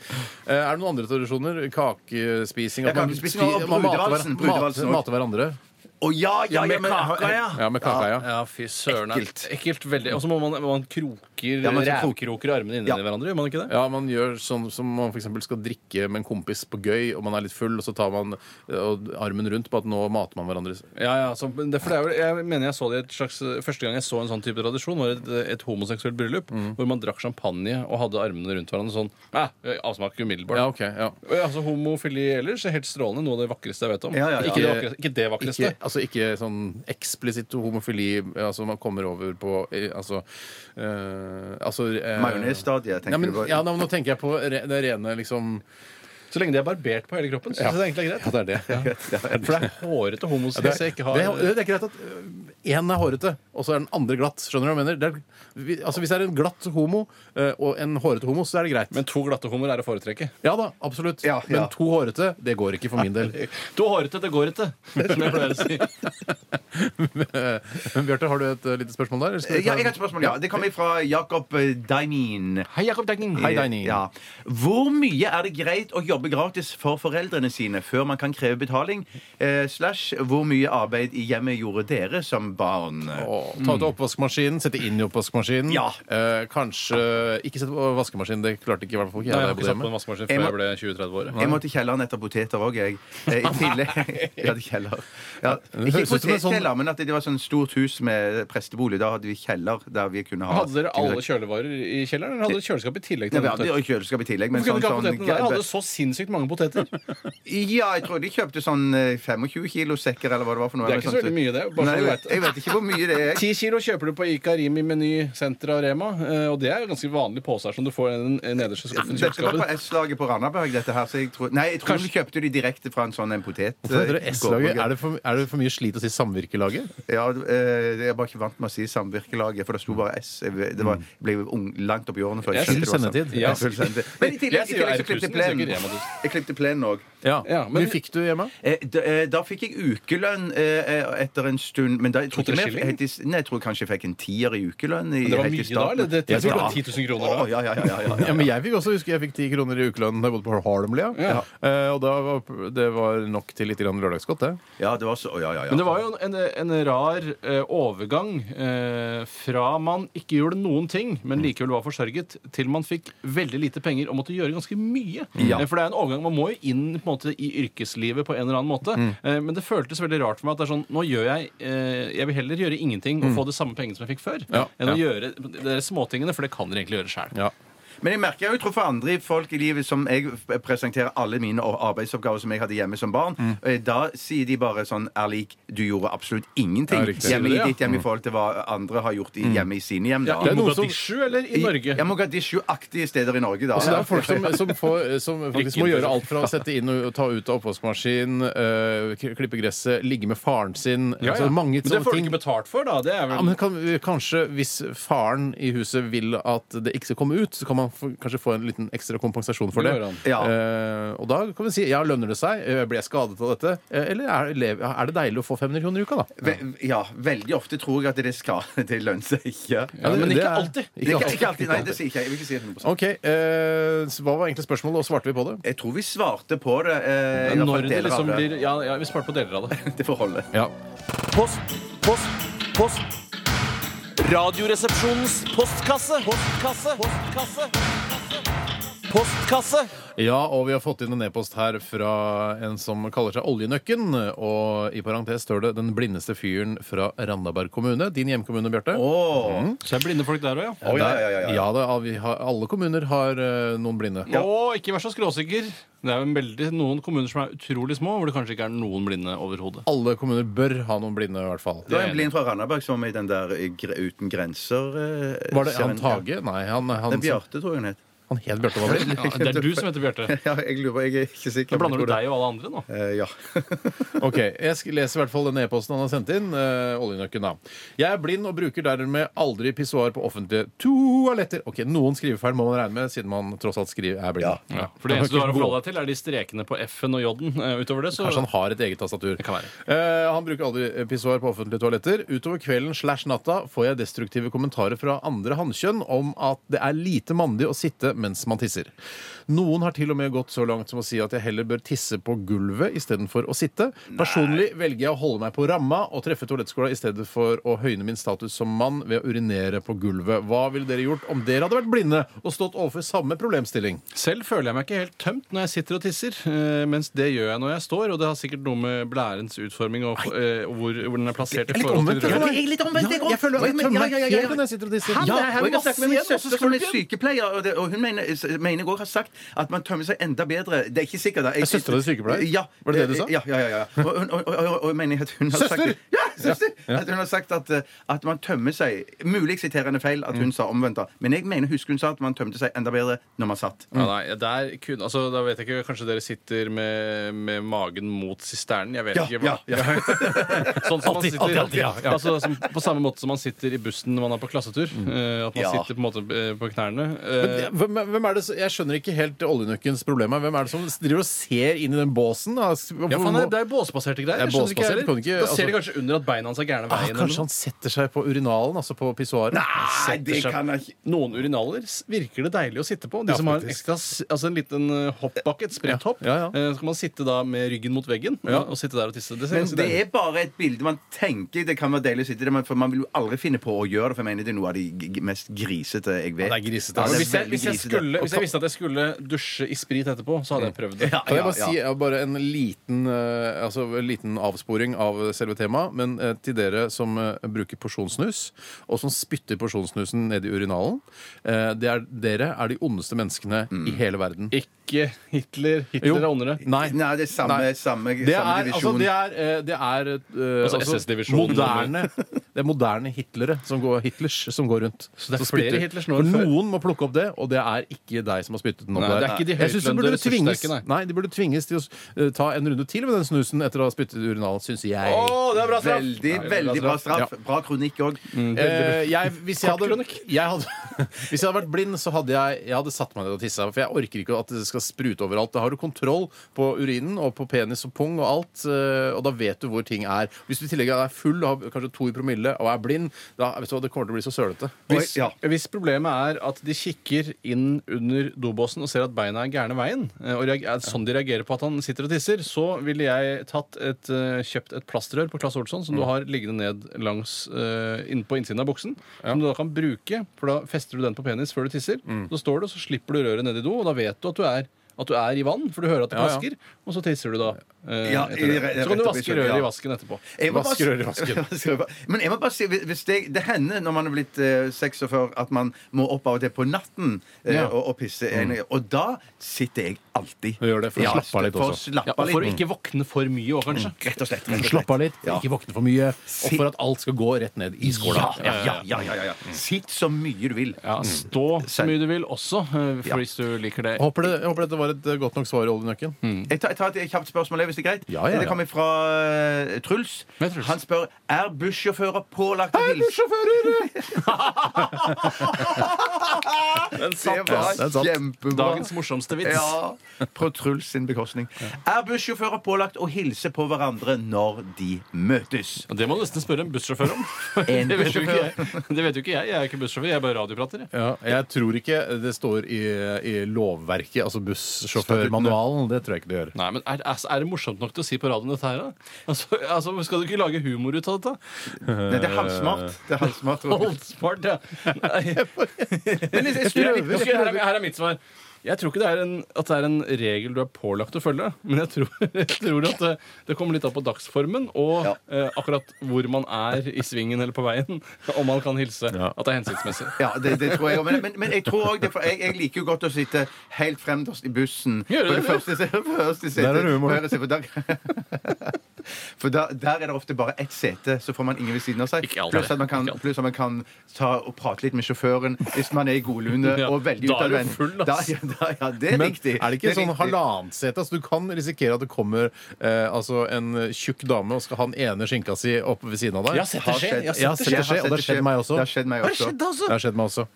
[SPEAKER 4] Eh, Er det noen andre tradisjoner? Kakespising?
[SPEAKER 5] Ja, kakespising og
[SPEAKER 4] spi- man mater hver-
[SPEAKER 5] brudevalsen, brudevalsen
[SPEAKER 4] mate-
[SPEAKER 5] også.
[SPEAKER 4] mate hverandre?
[SPEAKER 5] Å ja, ja, ja,
[SPEAKER 6] med
[SPEAKER 5] men
[SPEAKER 6] kaka, Ah, ja.
[SPEAKER 4] Ja, med kaka, ja.
[SPEAKER 6] Ja, fy søren.
[SPEAKER 5] Ekkelt.
[SPEAKER 6] Ekkelt veldig. Og så må man, man kroker
[SPEAKER 5] Ja, man skal
[SPEAKER 6] rævkroker armene inni
[SPEAKER 5] Ja.
[SPEAKER 6] hverandre, gjør man ikke det?
[SPEAKER 4] Ja, man gjør sånn som man for eksempel skal drikke med en kompis på gøy, og man er litt full, og så tar man eh, og armen rundt på at nå mater man hverandre.
[SPEAKER 6] Ja, ja, så, men det, for det er, vel- jeg mener jeg så det i et slags Første gang jeg så en sånn type tradisjon, var et, et homoseksuelt bryllup
[SPEAKER 4] Mm.
[SPEAKER 6] hvor man drakk champagne og hadde armene rundt hverandre sånn. «Æ, Avsmak umiddelbart.
[SPEAKER 4] Ja, ok, ja.
[SPEAKER 6] Og, Altså, homofili ellers er helt strålende. Noe av det vakreste jeg vet om.
[SPEAKER 5] Ja, ja, ja.
[SPEAKER 6] Ikke, det vakreste, ikke det vakreste.
[SPEAKER 4] Ikke, altså ikke sånn eksplisitt homofili Altså man kommer over på eh, Altså, eh, altså eh,
[SPEAKER 5] Majonesstadiet, tenker
[SPEAKER 4] ja, men,
[SPEAKER 5] du på.
[SPEAKER 4] ja, nei, men nå tenker jeg på re, det rene liksom
[SPEAKER 6] Så lenge det er barbert på hele kroppen, syns jeg det egentlig er greit.
[SPEAKER 4] Ja, det er det.
[SPEAKER 6] For det er hårete homoseksuelle jeg ikke har
[SPEAKER 4] det, er- det er greit at én er hårete, og så er den andre glatt. Skjønner du hva jeg mener? Det er, vi, altså Hvis det er en glatt homo eh, og en hårete homo, så er det greit.
[SPEAKER 6] Men to glatte homoer er å foretrekke.
[SPEAKER 4] ja da, absolutt.
[SPEAKER 5] Ja, ja.
[SPEAKER 4] Men to hårete, det går ikke for min del.
[SPEAKER 6] To hårete, det går ikke, som jeg pleier å si.
[SPEAKER 4] Men Bjarte, har du et eh, lite spørsmål der? eller skal vi ta
[SPEAKER 5] Ja, jeg har
[SPEAKER 4] en-
[SPEAKER 5] et spørsmål. Ja. Det kommer fra Jakob eh, Dainin.
[SPEAKER 6] Hei, Jakob Degning.
[SPEAKER 4] Hei, Dainin.
[SPEAKER 5] Ja. Hvor mye er det greit å jobbe gratis for foreldrene sine før man kan kreve betaling? Eh, slash hvor mye arbeid i hjemmet gjorde dere som barn?
[SPEAKER 4] Å, Ta ut av oppvaskmaskinen, sette inn i oppvaskmaskinen.
[SPEAKER 5] Ja.
[SPEAKER 4] Eh, kanskje Ikke sette på vaskemaskinen. Det klarte ikke i hvert fall ikke jeg.
[SPEAKER 6] Nei, jeg
[SPEAKER 4] da
[SPEAKER 6] har ikke
[SPEAKER 4] jeg bodde
[SPEAKER 6] satt på
[SPEAKER 4] hjemme.
[SPEAKER 6] en vaskemaskin
[SPEAKER 5] Jeg
[SPEAKER 6] før
[SPEAKER 5] må-
[SPEAKER 6] jeg ble 20-30 år.
[SPEAKER 5] Jeg må til kjelleren etter poteter òg, jeg. Eh, I tillegg. Jeg hadde kjeller. Ja.
[SPEAKER 4] høres
[SPEAKER 5] Ikke
[SPEAKER 4] ut som en sånn-
[SPEAKER 5] potetkjeller, men at det var sånn stort hus med prestebolig. Da hadde vi kjeller der vi kunne ha
[SPEAKER 6] Hadde dere alle kjølevarer i kjelleren? Eller hadde dere kjøleskap i tillegg?
[SPEAKER 5] Nei,
[SPEAKER 6] til
[SPEAKER 5] vi hadde jo
[SPEAKER 6] potet?
[SPEAKER 5] kjøleskap i tillegg. Men
[SPEAKER 6] Hvorfor kunne
[SPEAKER 5] sånn,
[SPEAKER 6] dere ikke ha
[SPEAKER 5] sånn,
[SPEAKER 6] potetene der? Jeg hadde så sinnssykt mange poteter. Det
[SPEAKER 5] ja, jeg tror de kjøpte sånn eh, 25 kilo sekker, eller hva det var for noe.
[SPEAKER 6] er ikke så
[SPEAKER 5] eller sånt.
[SPEAKER 6] veldig mye, det. Bare
[SPEAKER 5] Nei,
[SPEAKER 6] så
[SPEAKER 5] jeg,
[SPEAKER 6] du
[SPEAKER 5] vet,
[SPEAKER 6] vet.
[SPEAKER 5] jeg vet ikke hvor mye det er.
[SPEAKER 6] 10 kilo kjøper du på Ica, Rimi, Meny, Senter og Rema. eh, Og det er jo ganske vanlige poser som du får i den nederste skuffen i
[SPEAKER 5] Dette var på
[SPEAKER 6] kjøleskapet.
[SPEAKER 5] S-laget på Randaberg. Dette her, så jeg tror, nei, jeg tror de kjøpte de direkte fra en sånn en potet...
[SPEAKER 4] Hvorfor heter det S-laget? Er, det for- er det for mye slit å si samvirkelaget?
[SPEAKER 5] Ja, eh, jeg er bare ikke vant med å si Samvirkelaget, for det sto bare S. Jeg-
[SPEAKER 6] Mm.
[SPEAKER 5] Det var, jeg ble ung, langt opp i årene før
[SPEAKER 6] Jeg
[SPEAKER 5] jeg skjønte det
[SPEAKER 4] sier
[SPEAKER 5] var sånn.
[SPEAKER 4] sendetid.
[SPEAKER 5] Ja, full sendetid. Men i tillegg,
[SPEAKER 6] Jeg
[SPEAKER 5] i
[SPEAKER 6] sier jo
[SPEAKER 5] tillegg så
[SPEAKER 6] R1000,
[SPEAKER 5] klippte
[SPEAKER 6] jeg sier ikke
[SPEAKER 5] plenen.
[SPEAKER 6] Rema 1000.
[SPEAKER 5] Jeg klippet plenen òg.
[SPEAKER 4] Ja.
[SPEAKER 6] Ja, men-
[SPEAKER 4] men fikk du hjemme?
[SPEAKER 5] Eh, da, eh, da fikk jeg ukelønn eh, eh, etter en stund. Men da, jeg, tror
[SPEAKER 6] To-tre
[SPEAKER 5] ikke mer-
[SPEAKER 6] skilling?
[SPEAKER 5] helt i s- nei, jeg tror kanskje jeg fikk en tier i ukelønn. i-
[SPEAKER 6] Men det var
[SPEAKER 5] helt i
[SPEAKER 6] mye da,
[SPEAKER 5] starten.
[SPEAKER 6] eller? Det-
[SPEAKER 5] Ja,
[SPEAKER 6] jeg tror det
[SPEAKER 5] ja.
[SPEAKER 6] var 10 000 kroner da.
[SPEAKER 5] Å, ja, ja, ja, ja, ja, ja.
[SPEAKER 4] Ja, men Jeg fikk også huske jeg fikk ti kroner i ukelønn da jeg bodde på Harlemlia.
[SPEAKER 6] Ja.
[SPEAKER 4] Eh, og da var, det var nok til litt grann lørdagsgodt, det.
[SPEAKER 5] Ja, det var så, å, ja, ja, ja.
[SPEAKER 6] Men det var jo en, en rar eh, overgang eh, fra man ikke gjorde noen ting, men likevel var forsørget, til man fikk veldig lite penger og måtte gjøre ganske mye.
[SPEAKER 5] Ja.
[SPEAKER 6] Eh, for det er en overgang. Man må jo inn på en måte, i yrkeslivet på en eller annen måte. Eh, men det føltes veldig rart for meg at det er sånn Nå gjør jeg eh, Jeg vil heller gjøre ingenting og få de samme pengene som jeg fikk før,
[SPEAKER 4] Ja.
[SPEAKER 6] enn å
[SPEAKER 4] Ja.
[SPEAKER 6] gjøre de der småtingene, for det kan dere egentlig gjøre sjæl.
[SPEAKER 4] Ja.
[SPEAKER 5] Men jeg merker jeg har jo truffet andre folk i livet som jeg presenterer alle mine arbeidsoppgaver som jeg hadde hjemme som barn.
[SPEAKER 4] Mm.
[SPEAKER 5] Og Da sier de bare sånn Erlik, du gjorde absolutt ingenting
[SPEAKER 4] Ja, riktig.
[SPEAKER 5] hjemme i
[SPEAKER 6] Sier de det,
[SPEAKER 5] ditt hjem i forhold til hva andre har gjort i, hjemme i sine hjem. Da.
[SPEAKER 6] Ja,
[SPEAKER 4] Det
[SPEAKER 6] I
[SPEAKER 4] er noen som-
[SPEAKER 6] Mogadishu eller i Norge?
[SPEAKER 5] Ja, Mogadishu-aktige steder i Norge,
[SPEAKER 4] Så
[SPEAKER 5] da.
[SPEAKER 4] Altså, det er folk som, som, får, som faktisk må gjøre alt fra å sette inn og ta ut av oppvaskmaskin, øh, k- klippe gresset, ligge med faren sin
[SPEAKER 6] Ja, ja.
[SPEAKER 4] Altså mange
[SPEAKER 6] Men det
[SPEAKER 4] sånne
[SPEAKER 6] får du
[SPEAKER 4] ting.
[SPEAKER 6] ikke betalt for, da. Det er vel
[SPEAKER 4] Ja, men kan, kanskje hvis faren i huset vil at det ikke skal komme ut, så kan man få, kanskje få en liten ekstra kompensasjon for det.
[SPEAKER 6] Det går an.
[SPEAKER 5] Ja.
[SPEAKER 4] Eh, og da kan vi si ja, lønner det seg? Eh, Ble jeg skadet av dette? Eh, Eller er, lev- er det deilig å få 500 kroner i uka, da?
[SPEAKER 5] Ve ja, veldig ofte tror jeg at det skal Det lønner seg ikke.
[SPEAKER 6] Ja, men
[SPEAKER 4] det
[SPEAKER 6] ikke
[SPEAKER 4] er-
[SPEAKER 6] alltid.
[SPEAKER 5] Det
[SPEAKER 4] Ikke
[SPEAKER 5] er
[SPEAKER 4] alltid.
[SPEAKER 5] ikke alltid. Nei, det sier ikke jeg. Jeg vil ikke si 100
[SPEAKER 4] OK. eh, så hva var egentlig spørsmålet, og svarte vi på det?
[SPEAKER 5] Jeg tror vi svarte på det. Eh, i hvert fall
[SPEAKER 6] Når det
[SPEAKER 5] deler av
[SPEAKER 6] liksom
[SPEAKER 5] det.
[SPEAKER 6] blir Ja, ja vi sparte på deler av det.
[SPEAKER 5] Det får holde.
[SPEAKER 4] Ja.
[SPEAKER 2] Post, post, post. Radioresepsjonens postkasse. Postkasse. Postkasse. Postkasse.
[SPEAKER 4] ja, og vi har fått inn en e-post her fra en som kaller seg Oljenøkken. Og i parentes står det 'Den blindeste fyren fra Randaberg kommune'. Din hjemkommune, Bjarte.
[SPEAKER 5] Åh.
[SPEAKER 6] Så er blinde folk der òg, ja.
[SPEAKER 5] Å, ja, ja, ja, ja.
[SPEAKER 4] da, ja, vi har, alle kommuner har eh, noen blinde.
[SPEAKER 6] Og ikke vær så skråsikker. Det er jo en veldig, noen kommuner som er utrolig små, hvor det kanskje ikke er noen blinde overhodet.
[SPEAKER 4] Alle kommuner bør ha noen blinde, i hvert fall.
[SPEAKER 5] Det var en blind fra Randaberg som var med i den der eh, Gre- Uten grenser eh,
[SPEAKER 4] Var det
[SPEAKER 5] serien.
[SPEAKER 4] han Tage? Nei, han,
[SPEAKER 5] Det er
[SPEAKER 4] han, han,
[SPEAKER 5] Bjarte, tror jeg hun het.
[SPEAKER 4] het Bjarte. var det.
[SPEAKER 6] Ja, det er du som heter Bjarte.
[SPEAKER 5] Ja, jeg lurer på, jeg er ikke sikker.
[SPEAKER 6] Da blander du deg og alle andre nå.
[SPEAKER 5] Eh, ja.
[SPEAKER 4] Ok, Jeg sk- leser i hvert fall denne e-posten han har sendt inn. eh, oljenøkken, da. Jeg er blind og bruker dermed aldri pissoar på offentlige toaletter. Ok, Noen skrivefeil må man regne med, siden man tross alt skriver, er blind. Ja.
[SPEAKER 6] For det eneste du har å forholde deg til, er de strekene på F-en og J-en. Eh, Utover det, så
[SPEAKER 4] Kanskje han har et eget tastatur.
[SPEAKER 6] kan
[SPEAKER 4] Eh, han bruker aldri pissoar på offentlige toaletter. Utover kvelden slash natta får jeg destruktive kommentarer fra andre hannkjønn om at det er lite mandig å sitte mens man tisser. Noen har til og med gått så langt som å si at jeg heller bør tisse på gulvet istedenfor å sitte. Personlig velger jeg å holde meg på ramma og treffe toalettskåla i stedet for å høyne min status som mann ved å urinere på gulvet. Hva ville dere gjort om dere hadde vært blinde og stått overfor samme problemstilling?
[SPEAKER 6] Selv føler jeg meg ikke helt tømt når jeg sitter og tisser, eh, mens det gjør jeg når jeg står. Og det har sikkert noe med blærens utforming og eh, hvor, hvor den er plassert i forhold til
[SPEAKER 4] jeg.
[SPEAKER 6] røret.
[SPEAKER 5] Jeg er litt omvendt, jeg
[SPEAKER 4] Ja,
[SPEAKER 5] òg.
[SPEAKER 4] jeg føler at jeg
[SPEAKER 5] Men-
[SPEAKER 4] tømmer
[SPEAKER 5] ja,
[SPEAKER 4] meg
[SPEAKER 5] ja, ja, ja.
[SPEAKER 4] helt når jeg sitter og tisser.
[SPEAKER 5] Ja,
[SPEAKER 4] Ja,
[SPEAKER 5] og jeg har snakket med min
[SPEAKER 4] masse igjen, og så
[SPEAKER 5] søster
[SPEAKER 4] skal
[SPEAKER 5] som
[SPEAKER 4] det
[SPEAKER 5] er
[SPEAKER 4] bli-
[SPEAKER 5] sykepleier, og, det, og hun mener, s- mener jeg også har sagt at man tømmer seg enda bedre. Det er ikke sikkert. da. Jeg-
[SPEAKER 4] Er søstera di sykepleier?
[SPEAKER 5] Ja.
[SPEAKER 4] Var det det du sa?
[SPEAKER 5] Ja, ja, ja. ja. Og, og, og, og, og jeg mener at hun har
[SPEAKER 4] Søster?
[SPEAKER 5] sagt Ja, søster! At hun har sagt at, eh, at man tømmer seg Mulig siterende feil at hun sa omvendt, da. Men jeg mener husker hun sa at man tømte seg enda bedre når man satt.
[SPEAKER 6] Ja, nei, der kun, altså, da vet jeg ikke, Kanskje dere sitter med, med magen mot sisternen? Jeg vet
[SPEAKER 5] Ja,
[SPEAKER 6] ikke. hva-
[SPEAKER 5] ja,
[SPEAKER 6] sånn som man
[SPEAKER 2] Alltid,
[SPEAKER 6] sitter,
[SPEAKER 2] alltid, alltid, ja, ja.
[SPEAKER 6] Altså, som, på samme måte som man sitter i bussen når man er på klassetur. eh, At man
[SPEAKER 5] Ja.
[SPEAKER 6] sitter på, en måte, eh, på knærne.
[SPEAKER 4] Men
[SPEAKER 6] eh,
[SPEAKER 4] det- Hvem, hvem er det, som- jeg skjønner ikke helt oljenøkkens problem her. Hvem er det som driver og ser inn i den båsen? da? Hvorfor
[SPEAKER 6] Ja, faen,
[SPEAKER 4] må-
[SPEAKER 6] det er- det er jo båsbaserte greier.
[SPEAKER 4] Det
[SPEAKER 6] jeg
[SPEAKER 4] er
[SPEAKER 6] skjønner ikke
[SPEAKER 4] båsbasert,
[SPEAKER 6] heller.
[SPEAKER 4] kan du ikke-
[SPEAKER 6] da ser de
[SPEAKER 4] altså-
[SPEAKER 6] kanskje under at beina hans er gærne
[SPEAKER 4] ah,
[SPEAKER 6] veien. eller
[SPEAKER 4] kanskje
[SPEAKER 6] noe.
[SPEAKER 4] han setter seg på urinalen, altså på pissoaret?
[SPEAKER 5] Nei,
[SPEAKER 6] setter seg- Noen urinaler s- virker det deilig å sitte på. De
[SPEAKER 4] Ja,
[SPEAKER 6] som har en,
[SPEAKER 4] faktisk.
[SPEAKER 6] ekstra, s- altså en liten eh, hoppbakke, et spredt hopp,
[SPEAKER 4] Ja, ja.
[SPEAKER 6] eh, så kan man sitte da med ryggen mot veggen ja, og sitte der og tisse. Det ser
[SPEAKER 5] Men
[SPEAKER 6] ganske
[SPEAKER 5] det
[SPEAKER 6] deilig ut.
[SPEAKER 5] er bare et bilde man tenker det kan være deilig å sitte i, det, men for man vil jo aldri finne på å gjøre det. For jeg mener det er noe av de g- g- mest grisete jeg vet.
[SPEAKER 4] Ja, det er grisete,
[SPEAKER 6] Ja,
[SPEAKER 4] altså.
[SPEAKER 6] men
[SPEAKER 5] det
[SPEAKER 6] hvis, jeg,
[SPEAKER 5] veldig
[SPEAKER 6] hvis, jeg
[SPEAKER 5] grisete.
[SPEAKER 6] skulle, hvis jeg visste at jeg skulle dusje i sprit etterpå, så hadde jeg prøvd det.
[SPEAKER 5] Ja,
[SPEAKER 4] Kan jeg
[SPEAKER 5] ja,
[SPEAKER 4] bare
[SPEAKER 5] ja.
[SPEAKER 4] si ja, bare en liten, eh, altså, en liten avsporing av selve temaet. Men eh, til dere som eh, bruker porsjonssnus, og som spytter porsjonssnusen ned i urinalen eh, det er, Dere er de ondeste menneskene i hele verden.
[SPEAKER 6] Ikke Hitler.
[SPEAKER 4] Jo.
[SPEAKER 6] Hitler er ondere.
[SPEAKER 4] Nei.
[SPEAKER 5] Nei, det er samme,
[SPEAKER 4] Nei.
[SPEAKER 5] samme,
[SPEAKER 4] Det
[SPEAKER 5] samme
[SPEAKER 4] er, altså,
[SPEAKER 5] divisjon.
[SPEAKER 4] det er, eh, det er eh,
[SPEAKER 6] Altså
[SPEAKER 4] altså,
[SPEAKER 6] SS-divisjonen.
[SPEAKER 4] moderne, det er moderne hitlere som går, Hitlers som går rundt. Så
[SPEAKER 6] det er flere Hitlers nå enn før.
[SPEAKER 4] Noen må plukke opp det, og det er ikke deg som har spyttet den opp
[SPEAKER 6] Nei,
[SPEAKER 4] der.
[SPEAKER 6] det er ikke de
[SPEAKER 4] Jeg synes
[SPEAKER 6] høytlønte
[SPEAKER 4] burde tvinges,
[SPEAKER 6] ressurssterke,
[SPEAKER 4] nei.
[SPEAKER 6] nei.
[SPEAKER 4] de burde tvinges til å eh, ta en runde til med den snusen etter å ha spyttet i urinalen, syns jeg.
[SPEAKER 6] det er bra
[SPEAKER 5] Veldig, veldig bra straff.
[SPEAKER 4] Ja.
[SPEAKER 5] Bra kronikk òg.
[SPEAKER 4] Eh, jeg, hvis, jeg
[SPEAKER 6] Kort
[SPEAKER 4] hadde,
[SPEAKER 6] kronikk.
[SPEAKER 4] jeg hadde, hvis jeg hadde vært blind, så hadde jeg, jeg hadde satt meg ned og tissa. For jeg orker ikke at det skal sprute overalt. Da har du kontroll på urinen og på penis og pung og alt. eh, Og da vet du hvor ting er. Hvis du i tillegg er full og har kanskje to i promille og er blind, da vet du hva, det kommer til å bli så sølete.
[SPEAKER 6] Hvis,
[SPEAKER 5] Ja.
[SPEAKER 6] hvis problemet er at de kikker inn under dobåsen og ser at beina er gærne veien, eh, og reager, er det sånn de reagerer på at han sitter og tisser, så ville jeg tatt et, eh, kjøpt et plastrør på Claes Olsson
[SPEAKER 5] Mm.
[SPEAKER 6] som du har liggende ned langs eh, inn på innsiden av buksen, som du da kan
[SPEAKER 5] Mm.
[SPEAKER 6] bruke, for da fester du den på penis før du tisser. Så står du, og så slipper du røret ned i do, og da vet du at du er At du er i vann, for du hører at det
[SPEAKER 4] Ja, ja.
[SPEAKER 6] plasker, og så tisser du da. eh,
[SPEAKER 5] Ja,
[SPEAKER 6] etter
[SPEAKER 5] i-
[SPEAKER 6] det.
[SPEAKER 5] rett-
[SPEAKER 6] så kan du
[SPEAKER 5] rett opp i
[SPEAKER 6] vaske
[SPEAKER 5] sølet,
[SPEAKER 6] røret
[SPEAKER 5] ja.
[SPEAKER 6] i vasken etterpå.
[SPEAKER 5] Jeg må bare
[SPEAKER 4] Vask
[SPEAKER 5] si-
[SPEAKER 4] røret i vasken.
[SPEAKER 5] Vasker røret. Men jeg må bare si, hvis det, det hender når man er blitt eh, 46 at man må opp av og til på natten eh,
[SPEAKER 6] Ja.
[SPEAKER 5] og, og pisse. Og da sitter jeg alltid.
[SPEAKER 4] Du Mm. gjør det for å slappe av litt
[SPEAKER 5] for å
[SPEAKER 4] også.
[SPEAKER 5] slappe
[SPEAKER 6] Ja,
[SPEAKER 5] av
[SPEAKER 6] og for å
[SPEAKER 5] litt. Mm.
[SPEAKER 6] ikke våkne for mye òg, kanskje.
[SPEAKER 5] Rett og slett. Rett og slett.
[SPEAKER 4] Slapp av litt,
[SPEAKER 5] Ja.
[SPEAKER 4] ikke våkne for mye, og for at alt skal gå rett ned i skåla.
[SPEAKER 5] Ja, ja, ja, ja, ja, ja.
[SPEAKER 4] Mm.
[SPEAKER 5] Sitt så mye du vil.
[SPEAKER 6] Ja, Stå så mye du vil også, eh, for hvis du liker det.
[SPEAKER 4] Jeg Håper, det, jeg håper dette var et eh, godt nok svar i oljenøkken.
[SPEAKER 5] Jeg tar, jeg tar et kjapt spørsmål, hvis det er greit.
[SPEAKER 4] Ja, ja, ja.
[SPEAKER 5] Det kommer fra eh, Truls.
[SPEAKER 6] Med Truls.
[SPEAKER 5] Han spør er bussjåfører pålagt å hilse.
[SPEAKER 6] Den
[SPEAKER 5] Det
[SPEAKER 6] satt,
[SPEAKER 5] var
[SPEAKER 6] ass.
[SPEAKER 4] det er sant.
[SPEAKER 5] kjempebra.
[SPEAKER 6] Dagens morsomste vits.
[SPEAKER 5] Ja, på Truls sin bekostning. Er bussjåfører pålagt å hilse på hverandre når de møtes?
[SPEAKER 6] Og Det må du nesten spørre en bussjåfør om.
[SPEAKER 5] En
[SPEAKER 6] Det vet jo ikke
[SPEAKER 5] bussjåfør.
[SPEAKER 6] jeg. Det vet jo ikke jeg. jeg er ikke bussjåfør, jeg er bare radioprater. jeg.
[SPEAKER 4] Ja, jeg tror ikke det står i, i lovverket, altså bussjåførmanualen. Det tror jeg ikke det gjør.
[SPEAKER 6] Nei, men er, altså, er det morsomt nok til å si på radioen dette her, da? Altså, altså, skal du ikke lage humor ut av dette?
[SPEAKER 5] Nei, det er halvsmart. Det er halvsmart Robin.
[SPEAKER 6] Holdsmart, ja. Nei.
[SPEAKER 5] Men jeg- jeg snur litt på
[SPEAKER 6] Ok, her, er, her er mitt svar. Jeg tror ikke det er en, at det er en regel du er pålagt å følge, men jeg tror, jeg tror at det, det kommer litt an på dagsformen og
[SPEAKER 5] Ja.
[SPEAKER 6] eh, akkurat hvor man er i svingen eller på veien, om man kan hilse.
[SPEAKER 4] Ja.
[SPEAKER 6] At det er hensiktsmessig.
[SPEAKER 5] Ja, det, det tror jeg òg. Men, men, men jeg tror også det, for jeg, jeg liker jo godt å sitte helt fremst i bussen.
[SPEAKER 6] Gjør du
[SPEAKER 5] På det
[SPEAKER 6] det?
[SPEAKER 5] første se- første setet.
[SPEAKER 4] Der er det humor.
[SPEAKER 5] på høyre side, for der- For da, der er det ofte bare ett sete, så får man ingen ved siden av seg.
[SPEAKER 6] Ikke alltid.
[SPEAKER 5] Pluss at man kan,
[SPEAKER 6] Ikke alltid.
[SPEAKER 5] pluss at man kan ta og prate litt med sjåføren hvis man er i godlune
[SPEAKER 6] Ja,
[SPEAKER 5] og veldig
[SPEAKER 6] da er du
[SPEAKER 5] utadvendt.
[SPEAKER 6] full,
[SPEAKER 5] Da,
[SPEAKER 6] ass.
[SPEAKER 5] ja, da, ja, det er
[SPEAKER 4] Men
[SPEAKER 5] riktig.
[SPEAKER 4] er det ikke
[SPEAKER 5] er
[SPEAKER 4] sånn
[SPEAKER 5] riktig.
[SPEAKER 4] halvannet sete? Altså, du kan risikere at det kommer eh, altså, en tjukk dame og skal ha den ene skinka si oppe ved siden av deg.
[SPEAKER 6] Jeg har sett det skje. Jeg har sett
[SPEAKER 4] Jeg har
[SPEAKER 6] det
[SPEAKER 4] sett det skje, og det har skjedd meg også.
[SPEAKER 5] Det har skjedd meg også.
[SPEAKER 4] Det har skjedd meg også.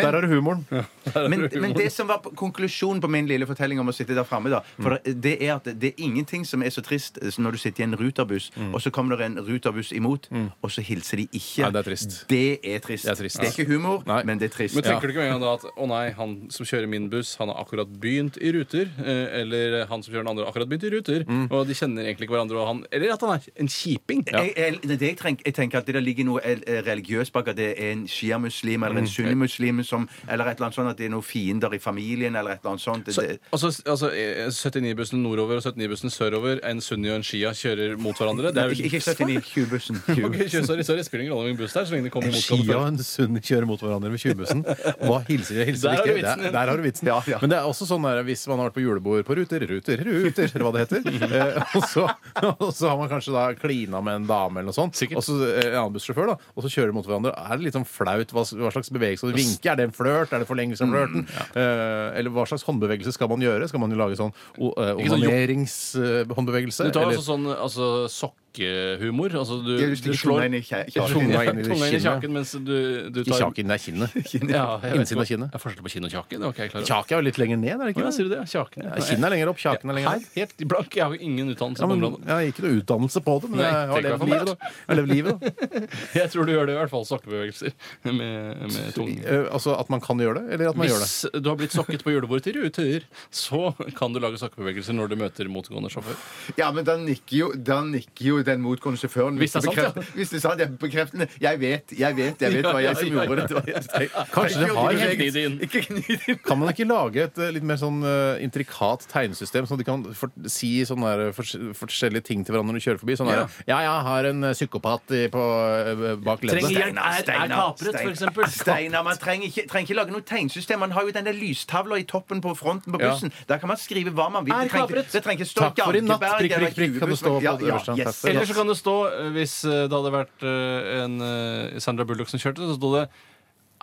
[SPEAKER 4] Der har du humoren.
[SPEAKER 5] Men, men det som var på- konklusjonen på min lille fortelling om å sitte der framme, da, for det er at det er ingenting som er så trist som når du sitter i en ruterbuss, og så kommer det en ruterbuss imot, og så hilser de ikke.
[SPEAKER 4] Nei, det er trist.
[SPEAKER 5] Det er trist.
[SPEAKER 4] Det er trist.
[SPEAKER 5] ikke humor,
[SPEAKER 4] Nei.
[SPEAKER 5] men det er trist.
[SPEAKER 6] Men tenker du ikke med en gang da at å nei, han som kjører min buss, han har akkurat begynt i ruter? eh, Eller han som kjører den andre, har akkurat begynt i ruter? Og de kjenner egentlig ikke hverandre. Og han, eller at han er en kjiping.
[SPEAKER 5] Jeg, jeg, det jeg, tenker, jeg tenker at det der ligger noe el- eh, religiøst bak at det er en sjiamuslim eller en sunnimuslim som Eller et eller annet sånt at det er noen fiender i familien eller et eller annet sånt.
[SPEAKER 6] Så,
[SPEAKER 5] Det,
[SPEAKER 6] altså, altså eh, 79-bussen nordover og 79-bussen sørover, en sunni og en shia kjører mot hverandre. Det er jo
[SPEAKER 5] ikke ikke sett inn i 20-bussen.
[SPEAKER 6] Ok, kjør, sorry, sorry, spiller ingen rolle om en buss der, så lenge de kommer
[SPEAKER 4] En
[SPEAKER 6] mot
[SPEAKER 4] Skia og
[SPEAKER 6] hverandre.
[SPEAKER 4] en Sunni kjører mot hverandre med 20-bussen. Hva hilser de? Hilser
[SPEAKER 6] Der har
[SPEAKER 4] de
[SPEAKER 6] du
[SPEAKER 4] ikke?
[SPEAKER 6] vitsen
[SPEAKER 4] Der,
[SPEAKER 6] din.
[SPEAKER 4] der har du vitsen.
[SPEAKER 5] Ja, ja.
[SPEAKER 4] Men det er også sånn der, hvis man har vært på julebord på ruter, ruter, ruter, eller hva det heter, eh, og, så, og så har man kanskje da klina med en dame eller noe sånt,
[SPEAKER 6] Sikkert.
[SPEAKER 4] og så eh, en annen bussjåfør, da, og så kjører de mot hverandre. Er det litt sånn flaut? Hva, hva slags bevegelse skal du vinke? Er det en flørt? Er det forlengelse
[SPEAKER 6] Mm,
[SPEAKER 4] av flørten? Eh, eller hva slags håndbevegelse skal man gjøre? Skal man jo lage sånn o- eh,
[SPEAKER 6] Ikke sånn jo-
[SPEAKER 4] onaneringshåndbevegelse?
[SPEAKER 6] Du tar
[SPEAKER 4] eller-
[SPEAKER 6] altså sånn altså, sokkehumor. Altså, du, du
[SPEAKER 5] Jeg husker ikke
[SPEAKER 6] slår
[SPEAKER 5] tunga inn i kje- kjaken.
[SPEAKER 4] Tunga inn i
[SPEAKER 6] tunga inn i
[SPEAKER 4] kinnet.
[SPEAKER 6] kjaken mens du, du
[SPEAKER 4] Ikke
[SPEAKER 6] tar
[SPEAKER 4] kjaken, det er kinnet.
[SPEAKER 6] Ja, jeg vet
[SPEAKER 4] Innsiden
[SPEAKER 6] ikke.
[SPEAKER 4] av kinnet.
[SPEAKER 6] Det er forskjell på kinn og kjake. Det var ikke jeg klar over.
[SPEAKER 4] Kjaken er jo litt lenger ned, er det ikke?
[SPEAKER 6] Ja,
[SPEAKER 4] det?
[SPEAKER 6] sier du det? Kjaken, ja.
[SPEAKER 4] Ja, Kinnet er lenger opp, kjaken er lenger ned.
[SPEAKER 6] Helt, helt blank. Jeg har jo ingen utdannelse
[SPEAKER 4] Ja,
[SPEAKER 6] på
[SPEAKER 4] men,
[SPEAKER 6] området.
[SPEAKER 4] jeg har ikke noe utdannelse på det, men
[SPEAKER 6] Nei,
[SPEAKER 4] jeg har
[SPEAKER 6] tenker
[SPEAKER 4] levd
[SPEAKER 6] jeg
[SPEAKER 4] livet,
[SPEAKER 6] for
[SPEAKER 4] da. Jeg har levd livet, da.
[SPEAKER 6] Jeg tror du gjør det i hvert fall sokkebevegelser med, med tungen.
[SPEAKER 4] Eh, altså at man kan gjøre det, eller at man gjør det.
[SPEAKER 6] Hvis du har blitt sokket på julebordet til Ruter, så kan du lage sokkebevegelser når du møter motgående sjåfør.
[SPEAKER 5] Ja, men da nikker jo, da nikker jo den motgående sjåføren.
[SPEAKER 6] Hvis det er sant, ja.
[SPEAKER 5] Bekreft- Hvis det er sant, ja. Bekreftende. Jeg vet, jeg vet, jeg vet hva jeg som
[SPEAKER 6] Ja, ja, ja,
[SPEAKER 5] gjorde det. det. var jeg som tenkte.
[SPEAKER 4] Kanskje det har
[SPEAKER 6] Ikke gni det inn.
[SPEAKER 5] Ikke gni det inn.
[SPEAKER 4] Kan man ikke lage et eh, litt mer sånn eh, intrikat tegnesystem, sånn at de kan for si sånne der, eh, fors- forskjellige ting til hverandre når de kjører forbi? Sånn der, ja, jeg har en eh, psykopat i- på, eh, bak
[SPEAKER 6] Trenger
[SPEAKER 4] leddet.
[SPEAKER 6] hjelp. Er- er kapret, for eksempel.
[SPEAKER 5] Steinar, man trenger ikke, trenger ikke lage noe tegnsystem. Man har jo den der lystavla i toppen på fronten på
[SPEAKER 4] Ja.
[SPEAKER 5] bussen. Der kan man skrive hva man vil.
[SPEAKER 6] Er
[SPEAKER 5] Det trenger,
[SPEAKER 6] kapret.
[SPEAKER 5] ikke- det trenger ikke stå
[SPEAKER 4] Takk for i natt,
[SPEAKER 5] Jankeberg
[SPEAKER 4] prikk,
[SPEAKER 5] eller
[SPEAKER 4] prikk, prikk, kan det stå på
[SPEAKER 5] Ja, ja,
[SPEAKER 4] øverste.
[SPEAKER 5] yes.
[SPEAKER 4] Takk for-
[SPEAKER 6] Eller så kan det stå, eh, hvis eh, det hadde vært eh, en eh, Sandra Bullock som kjørte, så sto det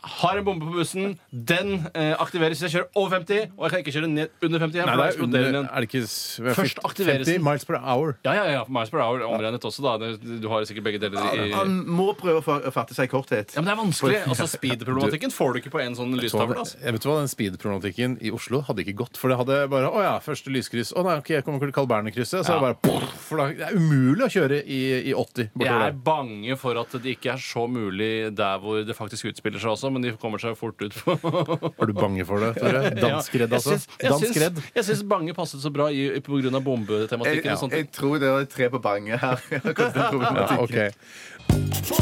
[SPEAKER 6] har en bombe på bussen. Den eh, aktiveres hvis jeg kjører over 50. Og jeg kan ikke kjøre ned under 50 igjen. for da
[SPEAKER 4] Nei, det er,
[SPEAKER 6] eksploderer
[SPEAKER 4] under,
[SPEAKER 6] den igjen.
[SPEAKER 4] er det ikke s- jeg
[SPEAKER 6] Først
[SPEAKER 4] fikk
[SPEAKER 6] aktiveres
[SPEAKER 4] 50
[SPEAKER 6] den.
[SPEAKER 4] miles per hour.
[SPEAKER 6] Ja, ja, ja. for Miles per hour er omregnet også, da. Det- Du har sikkert begge deler i
[SPEAKER 5] Han må prøve å fa- fatte seg i korthet.
[SPEAKER 6] Ja, men det er vanskelig. Altså, Speed-problematikken får du ikke på en sånn
[SPEAKER 4] Så hadde-
[SPEAKER 6] lystavle. Altså.
[SPEAKER 4] Jeg vet du hva, Den speed-problematikken i Oslo hadde ikke gått. For det hadde bare Å ja, første lyskryss. Å nei, ok, jeg kommer til Carl Berner-krysset.
[SPEAKER 6] Ja.
[SPEAKER 4] Så er det bare For da, det er umulig å kjøre i, i 80
[SPEAKER 6] Jeg
[SPEAKER 4] bortover
[SPEAKER 6] er
[SPEAKER 4] der.
[SPEAKER 6] bange for at det ikke er så mulig der hvor det faktisk utspiller seg også, men de kommer seg fort ut på
[SPEAKER 4] Er du bange for det, Tore? Dansk redd, altså.
[SPEAKER 6] Jeg syns- jeg
[SPEAKER 4] Dansk
[SPEAKER 6] syns-
[SPEAKER 4] redd.
[SPEAKER 6] Jeg syns bange passet så bra i- på grunn av
[SPEAKER 5] Jeg,
[SPEAKER 6] bombetematikken. og sånne ting.
[SPEAKER 5] jeg tror det er tre på bange her. Akkurat den problematikken.
[SPEAKER 4] Ja, ok.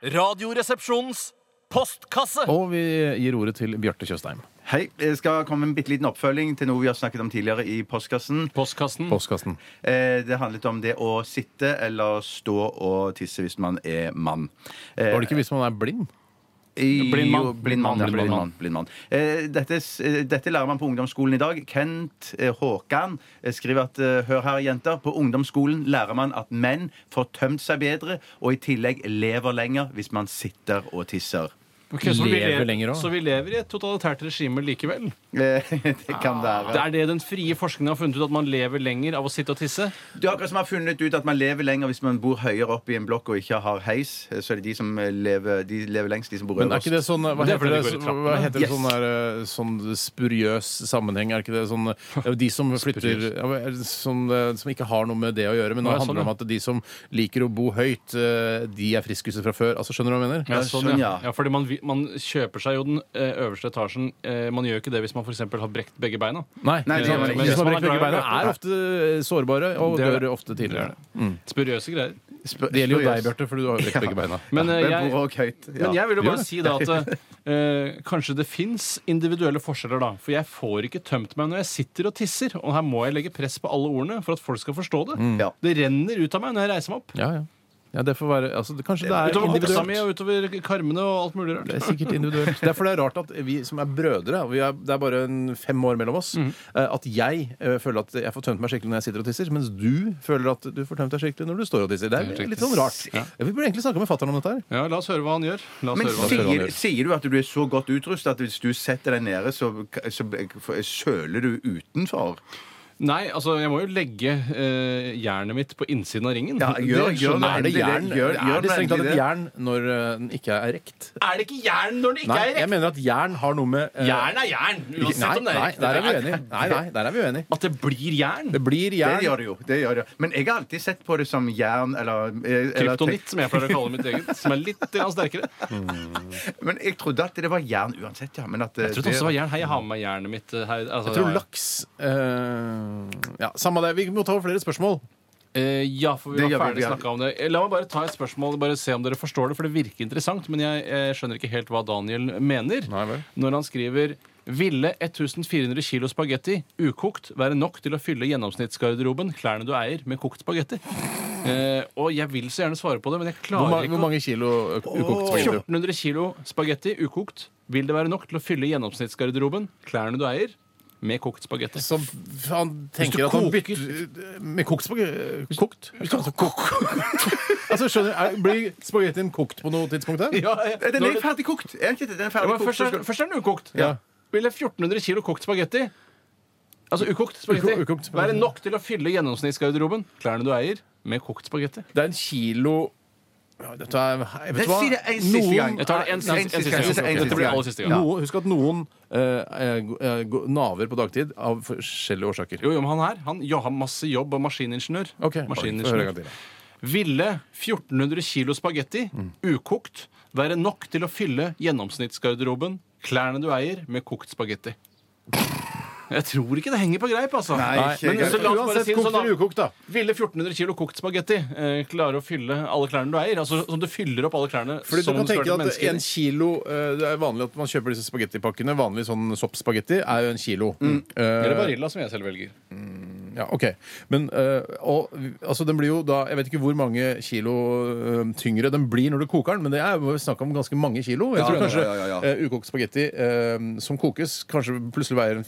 [SPEAKER 2] Radioresepsjonens postkasse.
[SPEAKER 4] Og vi gir ordet til Bjarte Tjøstheim.
[SPEAKER 5] Hei. Jeg skal komme med en bitte liten oppfølging til noe vi har snakket om tidligere i postkassen.
[SPEAKER 6] Postkassen.
[SPEAKER 4] Postkassen.
[SPEAKER 5] Eh, det handlet om det å sitte eller stå og tisse hvis man er mann. Eh,
[SPEAKER 4] Var det ikke hvis man er blind?
[SPEAKER 5] I-
[SPEAKER 6] Blind mann.
[SPEAKER 5] jo, Blind mann, ja,
[SPEAKER 6] Blind
[SPEAKER 5] blind
[SPEAKER 6] mann.
[SPEAKER 5] mann, blind mann. Eh, dette, s- eh, dette lærer man på ungdomsskolen i dag. Kent eh, Håkan eh, skriver at eh, Hør her, jenter. På ungdomsskolen lærer man at menn får tømt seg bedre og i tillegg lever lenger hvis man sitter og tisser.
[SPEAKER 6] Ok, så, vi
[SPEAKER 4] Lever
[SPEAKER 6] lever,
[SPEAKER 4] lenger også.
[SPEAKER 6] så vi lever i et totalitært regime likevel.
[SPEAKER 5] Eh, det kan være.
[SPEAKER 6] Ah, Det er det den frie forskningen har funnet ut, at man lever lenger av å sitte og tisse.
[SPEAKER 5] Det er akkurat som har funnet ut at man lever lenger hvis man bor høyere opp i en blokk og ikke har heis. eh, Så er det de som eh, lever, de lever lengst, de som bor
[SPEAKER 4] Men er
[SPEAKER 5] øverst.
[SPEAKER 4] ikke det sånn Hva
[SPEAKER 6] Det er
[SPEAKER 4] heter
[SPEAKER 6] fordi
[SPEAKER 4] det,
[SPEAKER 6] det går i trappene.
[SPEAKER 4] hva heter det
[SPEAKER 5] Yes.
[SPEAKER 4] sånn, der, eh, sånn spuriøs sammenheng? Er ikke det sånn eh, De som flytter
[SPEAKER 6] Spuriøs.
[SPEAKER 4] ja, men, eh, som, eh, som ikke har noe med det å gjøre, men nå
[SPEAKER 6] Å, ja, sånn,
[SPEAKER 4] handler det om at de som liker å bo høyt, eh, de er friskhuset fra før. Altså, skjønner du hva jeg mener?
[SPEAKER 6] Ja,
[SPEAKER 5] sånn,
[SPEAKER 6] ja.
[SPEAKER 5] ja.
[SPEAKER 6] ja fordi man, vi- man kjøper seg jo den eh, øverste etasjen. Eh, Man gjør jo ikke det hvis man f.eks. har brekt begge beina.
[SPEAKER 4] Nei.
[SPEAKER 5] Nei, det gjør man ikke.
[SPEAKER 4] Men
[SPEAKER 6] Hvis
[SPEAKER 4] hvis man
[SPEAKER 6] man
[SPEAKER 4] brekker
[SPEAKER 6] er glad
[SPEAKER 4] begge
[SPEAKER 6] i
[SPEAKER 4] beina,
[SPEAKER 6] å løpe.
[SPEAKER 4] er ofte eh, sårbare og
[SPEAKER 6] Det er det.
[SPEAKER 4] dør ofte tidligere.
[SPEAKER 6] Spuriøse greier.
[SPEAKER 5] Spør-
[SPEAKER 4] Det gjelder jo
[SPEAKER 5] spør-
[SPEAKER 4] deg, Bjarte, for du har jo brekt begge beina.
[SPEAKER 6] Men, eh,
[SPEAKER 5] Men
[SPEAKER 6] jeg,
[SPEAKER 5] bor også høyt. Ja.
[SPEAKER 6] men jeg vil jo
[SPEAKER 4] Gjør
[SPEAKER 6] bare
[SPEAKER 4] det.
[SPEAKER 6] si da at eh, kanskje det fins individuelle forskjeller, da. For jeg får ikke tømt meg når jeg sitter og tisser. Og her må jeg legge press på alle ordene for at folk skal forstå det.
[SPEAKER 5] Ja.
[SPEAKER 6] Det renner ut av meg når jeg reiser meg opp.
[SPEAKER 4] Ja, ja. ja det får være altså, det, Kanskje det er
[SPEAKER 6] Utover hofta
[SPEAKER 4] individuelt.
[SPEAKER 6] mi og utover karmene og alt mulig
[SPEAKER 4] Det er
[SPEAKER 6] rart.
[SPEAKER 4] sikkert individuelt. Derfor det er rart at vi som er brødre og vi er, Det er bare en fem år mellom oss. eh, At jeg eh, føler at jeg får tømt meg skikkelig når jeg sitter og tisser, mens du føler at du får tømt deg skikkelig når du står og tisser. Det er litt sånn rart. Vi burde egentlig snakke med fatter'n om dette her.
[SPEAKER 6] Ja, la oss høre hva han gjør. La oss
[SPEAKER 5] Men
[SPEAKER 6] høre hva han gjør.
[SPEAKER 4] hva han gjør.
[SPEAKER 5] sier, sier du at du er så godt utrustet at hvis du setter deg nede, så, så søler du utenfor?
[SPEAKER 6] Nei, altså, jeg må jo legge eh, jernet mitt på innsiden av ringen.
[SPEAKER 5] Ja, gjør- gjør
[SPEAKER 6] skjønner
[SPEAKER 4] Er
[SPEAKER 6] jeg.
[SPEAKER 4] det jern?
[SPEAKER 5] Gjør- gjør
[SPEAKER 4] er det strengt tatt
[SPEAKER 5] det.
[SPEAKER 4] et jern når eh, den ikke er rekt?
[SPEAKER 6] Er det ikke jern når det ikke
[SPEAKER 4] Nei,
[SPEAKER 6] er
[SPEAKER 4] jeg
[SPEAKER 6] rekt?
[SPEAKER 4] mener at jern har noe med eh,
[SPEAKER 6] Jern er jern, uansett
[SPEAKER 4] Nei,
[SPEAKER 6] om det er
[SPEAKER 4] nei,
[SPEAKER 6] rekt.
[SPEAKER 4] der er vi uenige. Nei, nei, der er vi uenige.
[SPEAKER 6] At det blir jern?
[SPEAKER 4] Det blir
[SPEAKER 5] Det
[SPEAKER 4] jern.
[SPEAKER 5] gjør det jo. det gjør det. Men jeg har alltid sett på det som jern eller eh, eller-
[SPEAKER 6] Kryptonitt, som jeg pleier å kalle mitt eget. Som er litt grann sterkere.
[SPEAKER 5] Men jeg trodde at det var jern uansett, ja. Men at, eh,
[SPEAKER 6] Jeg trodde også det var jern. Hei, jeg har med meg jernet mitt eh, her. Altså,
[SPEAKER 4] Jeg tror
[SPEAKER 6] ja.
[SPEAKER 4] laks eh, Ja, samme det. Vi må ta over flere spørsmål.
[SPEAKER 6] Eh, ja, for vi
[SPEAKER 5] Det
[SPEAKER 6] var
[SPEAKER 5] gjør vi,
[SPEAKER 6] ferdig
[SPEAKER 5] ja.
[SPEAKER 6] snakka om det. Eh, La meg bare ta et spørsmål bare se om dere forstår det, for det virker interessant. Men jeg, eh, skjønner ikke helt hva Daniel mener
[SPEAKER 4] Nei vel.
[SPEAKER 6] når han skriver ville 1400 kilo spagetti ukokt være nok til å fylle gjennomsnittsgarderoben, klærne du eier, med kokt spagetti? Eh, og jeg vil så gjerne svare på det, men jeg
[SPEAKER 4] Hvor,
[SPEAKER 6] klarer
[SPEAKER 4] ma hvor
[SPEAKER 6] ikke å
[SPEAKER 4] mange kilo ø- ukokt spagetti?
[SPEAKER 6] 1400 kilo spagetti ukokt, vil det være nok til å fylle gjennomsnittsgarderoben, klærne du eier, med kokt spagetti?
[SPEAKER 4] Så han tenker at han bytter Med kokt spagetti Kokt? Altså, altså, skjønner, du, er, Blir spagettien kokt på noe tidspunkt her?
[SPEAKER 6] Ja, ja.
[SPEAKER 5] Den
[SPEAKER 6] Når
[SPEAKER 5] er
[SPEAKER 6] det-
[SPEAKER 5] ferdig kokt! Er den ikke det? Den er
[SPEAKER 6] Ja,
[SPEAKER 5] ferdig
[SPEAKER 6] men
[SPEAKER 5] kokt.
[SPEAKER 6] først,
[SPEAKER 5] så
[SPEAKER 6] er,
[SPEAKER 5] skal-
[SPEAKER 6] først er den ukokt.
[SPEAKER 4] Ja.
[SPEAKER 6] Ville 1400 kilo kokt spagetti Altså ukokt spagetti
[SPEAKER 4] Uko- ukokt spagetti.
[SPEAKER 6] være nok til å fylle gjennomsnittsgarderoben, klærne du eier, med kokt spagetti?
[SPEAKER 4] Det er en kilo ja, Dette er jeg
[SPEAKER 5] Jeg
[SPEAKER 4] Vet
[SPEAKER 5] sier det en siste gang.
[SPEAKER 6] Jeg tar det en,
[SPEAKER 5] Nei,
[SPEAKER 6] siste- en siste gang.
[SPEAKER 5] gang. En siste
[SPEAKER 6] Dette blir
[SPEAKER 5] gang.
[SPEAKER 6] aller siste gang.
[SPEAKER 4] Noe, husk at noen ø, er go- er go- naver på dagtid av forskjellige årsaker.
[SPEAKER 6] Jo, jo, men han her han jo, har masse jobb og maskiningeniør.
[SPEAKER 4] Ok, få høre en gang
[SPEAKER 6] maskiningeniør.
[SPEAKER 4] til.
[SPEAKER 6] Ville 1400 kilo spagetti
[SPEAKER 4] Mm.
[SPEAKER 6] ukokt være nok til å fylle gjennomsnittsgarderoben, klærne du eier, med kokt spagetti? Jeg tror ikke det henger på greip, altså.
[SPEAKER 5] Nei, ikke
[SPEAKER 6] Men
[SPEAKER 5] jeg.
[SPEAKER 6] så la oss bare
[SPEAKER 4] Uansett
[SPEAKER 6] si det
[SPEAKER 4] kokt
[SPEAKER 6] sånn,
[SPEAKER 4] eller
[SPEAKER 6] da.
[SPEAKER 4] ukokt, da.
[SPEAKER 6] Ville 1400 kilo kokt spagetti eh, klare å fylle alle klærne du eier? Altså Som du fyller opp alle klærne
[SPEAKER 4] Fordi du
[SPEAKER 6] som
[SPEAKER 4] kan
[SPEAKER 6] om du skal
[SPEAKER 4] tenke
[SPEAKER 6] være et
[SPEAKER 4] at
[SPEAKER 6] menneske?
[SPEAKER 4] en kilo eh, Det er vanlig at man kjøper disse spagettipakkene. Vanlig sånn soppspagetti er jo en kilo. Eh,
[SPEAKER 6] Eller Barilla, som jeg selv velger.
[SPEAKER 4] ja, ok. Men eh, og, altså, den blir jo da Jeg vet ikke hvor mange kilo eh, tyngre den blir når du koker den, men det er jo snakk om ganske mange kilo. Jeg
[SPEAKER 5] Ja,
[SPEAKER 4] tror
[SPEAKER 5] ja,
[SPEAKER 4] kanskje
[SPEAKER 5] ja, ja, ja.
[SPEAKER 4] eh, ukokt spagetti eh, som kokes, kanskje plutselig veier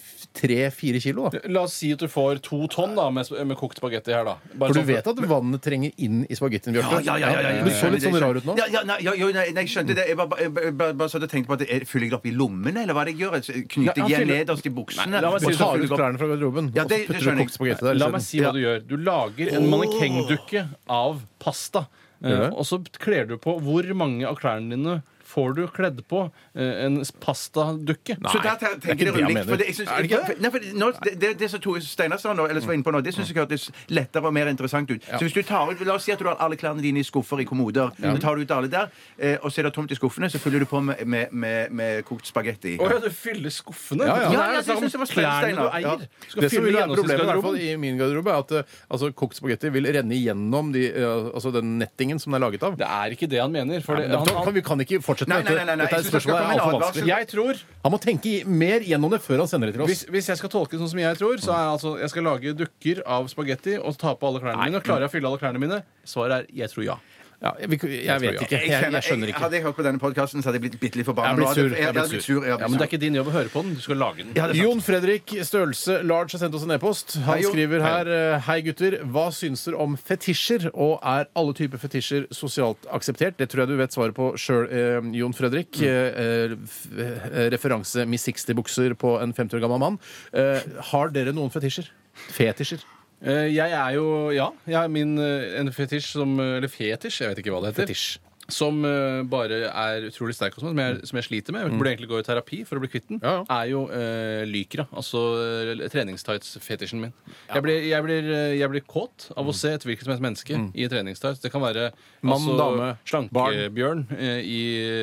[SPEAKER 4] tre-fire kilo. da
[SPEAKER 6] La oss si at du får to tonn da med, med kokt spagetti her, da. Bare
[SPEAKER 4] For
[SPEAKER 6] sånn
[SPEAKER 4] du vet at vannet trenger inn i spagettien, Bjarte.
[SPEAKER 5] Ja, ja, ja, ja, ja.
[SPEAKER 4] Du så litt sånn rar ut nå.
[SPEAKER 5] Ja, ja, nei, ja, jo, nei, nei, jeg skjønte det. Jeg bare, jeg bare- bare, bare satt og tenkte på at jeg Fyller jeg det opp i lommene, eller hva er det jeg gjør? Jeg Knyter
[SPEAKER 6] Ja, han
[SPEAKER 5] jeg
[SPEAKER 6] fyller-
[SPEAKER 5] nederst i buksene?
[SPEAKER 6] Nei, la meg
[SPEAKER 4] Du
[SPEAKER 6] si det
[SPEAKER 4] tar
[SPEAKER 6] sånn.
[SPEAKER 4] ut klærne fra garderoben,
[SPEAKER 5] Ja, det-
[SPEAKER 4] og
[SPEAKER 5] det
[SPEAKER 4] så putter
[SPEAKER 5] skjønner
[SPEAKER 4] du
[SPEAKER 5] jeg.
[SPEAKER 4] kokt spagetti der.
[SPEAKER 6] La meg si hva du gjør. Du lager en mannekengdukke av pasta.
[SPEAKER 4] Gjør
[SPEAKER 6] Eh,
[SPEAKER 4] det?
[SPEAKER 6] og så kler du på hvor mange av klærne dine får du kledd på eh, en pastadukke.
[SPEAKER 5] Så der te- tenker
[SPEAKER 4] det
[SPEAKER 5] dere
[SPEAKER 4] jeg
[SPEAKER 5] ulikt. For
[SPEAKER 4] mener.
[SPEAKER 5] det, jeg synes,
[SPEAKER 4] Er det ikke
[SPEAKER 5] for- Nei, for nå, det, det, det som Tore Steinar sa nå, eller som var inne på nå, det syns jeg hørtes lettere og mer interessant ut. Så hvis du tar ut, La oss si at du har alle klærne dine i skuffer i kommoder. Så tar du ut alle der, eh, og så er det tomt i skuffene, så fyller du på med, med, med, med kokt spagetti.
[SPEAKER 6] Å ja, du fyller skuffene?
[SPEAKER 4] Ja, ja.
[SPEAKER 6] Det
[SPEAKER 4] Ja,
[SPEAKER 6] er jo
[SPEAKER 5] ja,
[SPEAKER 6] snakk om
[SPEAKER 5] det synes jeg var spennende,
[SPEAKER 6] klærne du
[SPEAKER 5] Steinar. Ja.
[SPEAKER 6] eier. Du skal
[SPEAKER 4] Det som
[SPEAKER 6] fylle
[SPEAKER 4] vil være problemet i, hvert fall,
[SPEAKER 6] gjennomsnittsgarderoben.
[SPEAKER 4] i min garderobe, er at eh, altså, kokt spagetti vil renne igjennom de, eh, altså, den nettingen som den er laget av.
[SPEAKER 6] Det er ikke det han mener. For
[SPEAKER 4] Nei,
[SPEAKER 6] det,
[SPEAKER 4] men da
[SPEAKER 6] han,
[SPEAKER 4] kan,
[SPEAKER 6] han,
[SPEAKER 4] vi kan ikke fortsette
[SPEAKER 5] Nei,
[SPEAKER 4] med dette.
[SPEAKER 5] nei, nei, nei,
[SPEAKER 4] dette er et
[SPEAKER 5] jeg synes det skal
[SPEAKER 4] spørsmål er
[SPEAKER 5] komme en
[SPEAKER 4] altfor
[SPEAKER 5] advarsel.
[SPEAKER 4] vanskelig.
[SPEAKER 6] jeg tror
[SPEAKER 4] Han må tenke i- mer gjennom det før han sender det til oss.
[SPEAKER 6] hvis, hvis jeg skal tolke det sånn som jeg tror, så er jeg altså jeg skal lage dukker av spagetti og ta på alle klærne mine. Og klarer jeg å fylle alle klærne mine? Svaret er jeg tror ja.
[SPEAKER 4] Ja, jeg, jeg,
[SPEAKER 6] Jeg tror
[SPEAKER 4] vet
[SPEAKER 6] ja.
[SPEAKER 4] ikke. Jeg, jeg, skjønner ikke.
[SPEAKER 5] Hadde jeg hørt på denne podkasten, så hadde jeg blitt bitte litt
[SPEAKER 4] Jeg
[SPEAKER 5] forbanna.
[SPEAKER 4] blir
[SPEAKER 5] nå.
[SPEAKER 4] sur.
[SPEAKER 5] Jeg, jeg, hadde blitt sur. Jeg hadde
[SPEAKER 6] Ja, Men det er ikke din jobb å høre på den. Du skal lage den.
[SPEAKER 5] Ja, det er sant.
[SPEAKER 4] Jon Fredrik Størrelse Large har sendt oss en e-post. Han
[SPEAKER 5] Hei, Jon.
[SPEAKER 4] skriver her eh, Hei, gutter. Hva syns dere om fetisjer? Og er alle typer fetisjer sosialt akseptert? Det tror jeg du vet svaret på sjøl, eh, Jon Fredrik. Eh, f- eh, referanse Miss 60-bukser på en 50 år gammel mann. Eh, har dere noen fetisjer? Fetisjer?
[SPEAKER 6] Eh, Jeg er jo Ja, jeg er min eh, en fetisj som Eller fetisj, jeg vet ikke hva det heter.
[SPEAKER 4] Fetisj.
[SPEAKER 6] Som eh, bare er utrolig sterk, og sånn, som, jeg, som jeg sliter med. Jeg burde egentlig gå i terapi for å bli kvitt den.
[SPEAKER 4] Mm. Ja, ja.
[SPEAKER 6] Er jo eh, lykra. Altså eh, treningstights-fetisjen min. Jeg, blir, jeg, blir, eh, jeg blir kåt av å se et hvilket som helst menneske i treningstights. Det kan være
[SPEAKER 4] Mm.
[SPEAKER 6] altså,
[SPEAKER 4] Mann, dame,
[SPEAKER 6] slankebjørn eh, i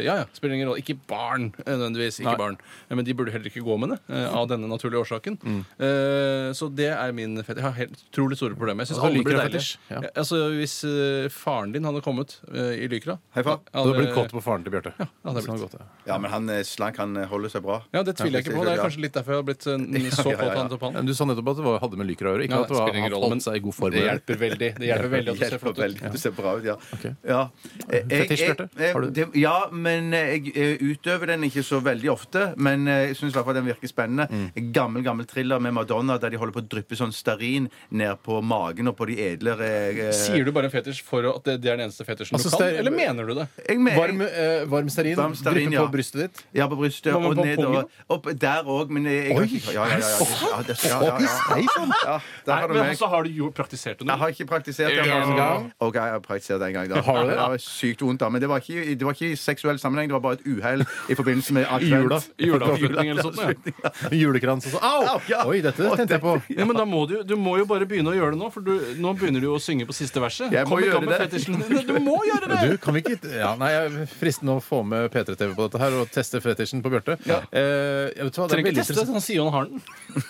[SPEAKER 6] Ja ja, spiller ingen rolle. Ikke barn, eh, nødvendigvis. Ikke
[SPEAKER 4] Nei.
[SPEAKER 6] barn. Eh, Men de burde heller ikke gå med det, eh, av denne naturlige årsaken.
[SPEAKER 4] Mm.
[SPEAKER 6] Eh, Så det er min fetisj. Jeg har helt utrolig store problemer. Jeg syns
[SPEAKER 4] Alle
[SPEAKER 6] alle
[SPEAKER 4] blir
[SPEAKER 6] lyker er
[SPEAKER 4] fetisj,
[SPEAKER 6] fetisj.
[SPEAKER 4] ja.
[SPEAKER 6] Altså, hvis eh, faren din hadde kommet eh, i lykra
[SPEAKER 5] Hei, far.
[SPEAKER 6] Ja,
[SPEAKER 4] Du har
[SPEAKER 6] det-
[SPEAKER 4] blitt kåt på faren til Bjarte.
[SPEAKER 6] Ja, det har blitt.
[SPEAKER 4] Sånn godt, ja.
[SPEAKER 5] Ja, men han eh, slank, han eh, holder seg bra.
[SPEAKER 6] Ja, det tviler jeg ikke på. Det er kanskje litt derfor jeg har blitt eh, så
[SPEAKER 5] Ja, ja,
[SPEAKER 6] kåt
[SPEAKER 5] ja.
[SPEAKER 6] han til
[SPEAKER 4] Men
[SPEAKER 6] pannen.
[SPEAKER 4] Du sa nettopp at det var, hadde med lyker å gjøre. Ikke
[SPEAKER 6] Ja,
[SPEAKER 4] at det var,
[SPEAKER 6] spiller ingen
[SPEAKER 4] han
[SPEAKER 6] rolle, men
[SPEAKER 4] holdt seg i god form.
[SPEAKER 6] Det hjelper veldig. Det hjelper veldig at du ser
[SPEAKER 5] Hjelper
[SPEAKER 6] flott ut.
[SPEAKER 5] veldig. Du ser bra ut, ja. ja. Eh,
[SPEAKER 4] Fetisj, Bjarte? Har du-
[SPEAKER 5] det? Ja, men eh, jeg eh, utøver den ikke så veldig ofte. Men eh, jeg syns i hvert fall den virker spennende.
[SPEAKER 4] Mm.
[SPEAKER 5] Gammel, gammel thriller med Madonna der de holder på å dryppe sånn stearin ned på magen og på de edlere eh,
[SPEAKER 6] Sier du bare en fetisj for at det det er den eneste fetisjen
[SPEAKER 4] Altså,
[SPEAKER 6] du kan,
[SPEAKER 4] det er-
[SPEAKER 6] eller mener du det?
[SPEAKER 5] Jeg mener-
[SPEAKER 4] Varm, eh, varm stearin
[SPEAKER 5] Varm stearin,
[SPEAKER 4] drypper
[SPEAKER 5] ja.
[SPEAKER 4] på brystet ditt.
[SPEAKER 5] Ja, på brystet
[SPEAKER 6] Hva med
[SPEAKER 5] og
[SPEAKER 6] på
[SPEAKER 5] nedover.
[SPEAKER 6] pungen?
[SPEAKER 5] Opp, der òg, men eh, jeg, jeg
[SPEAKER 4] Oi, sånn?
[SPEAKER 5] har ikke Ja, ja, ja. ja, ja, ja, det- ja, ja, ja. ja der
[SPEAKER 6] Nei,
[SPEAKER 5] har du
[SPEAKER 6] men
[SPEAKER 5] meg.
[SPEAKER 6] altså, har du jo praktisert det
[SPEAKER 5] Jeg
[SPEAKER 6] nå?
[SPEAKER 5] har ikke praktisert det.
[SPEAKER 6] En
[SPEAKER 4] gang.
[SPEAKER 5] OK, jeg har praktisert det en gang. Da.
[SPEAKER 4] Har du det?
[SPEAKER 5] Det var sykt vondt, da. Men det var ikke, det var ikke i seksuell sammenheng. Det var bare et uhell i forbindelse med advent.
[SPEAKER 4] Jula.
[SPEAKER 6] Juleavslutning eller sånt? Ja.
[SPEAKER 4] Julekrans og så Au!
[SPEAKER 5] ja.
[SPEAKER 4] Oi, dette tenkte jeg på.
[SPEAKER 6] Ja, men da må du, du må jo bare begynne å gjøre det nå, for du, nå begynner du å synge på siste verset.
[SPEAKER 5] Jeg må
[SPEAKER 6] Kom ikke
[SPEAKER 5] gjøre
[SPEAKER 6] opp med
[SPEAKER 5] det.
[SPEAKER 6] fetisjen din. Du må gjøre det!
[SPEAKER 4] Du, kan vi ikke ja, Nei, jeg er fristende å få med P3-TV på dette her og teste fetisjen på Bjarte. Eh, jeg vet hva, det er
[SPEAKER 6] Trenger
[SPEAKER 4] veldig
[SPEAKER 6] ikke teste, altså.
[SPEAKER 4] interessant.
[SPEAKER 6] han sier jo han har den.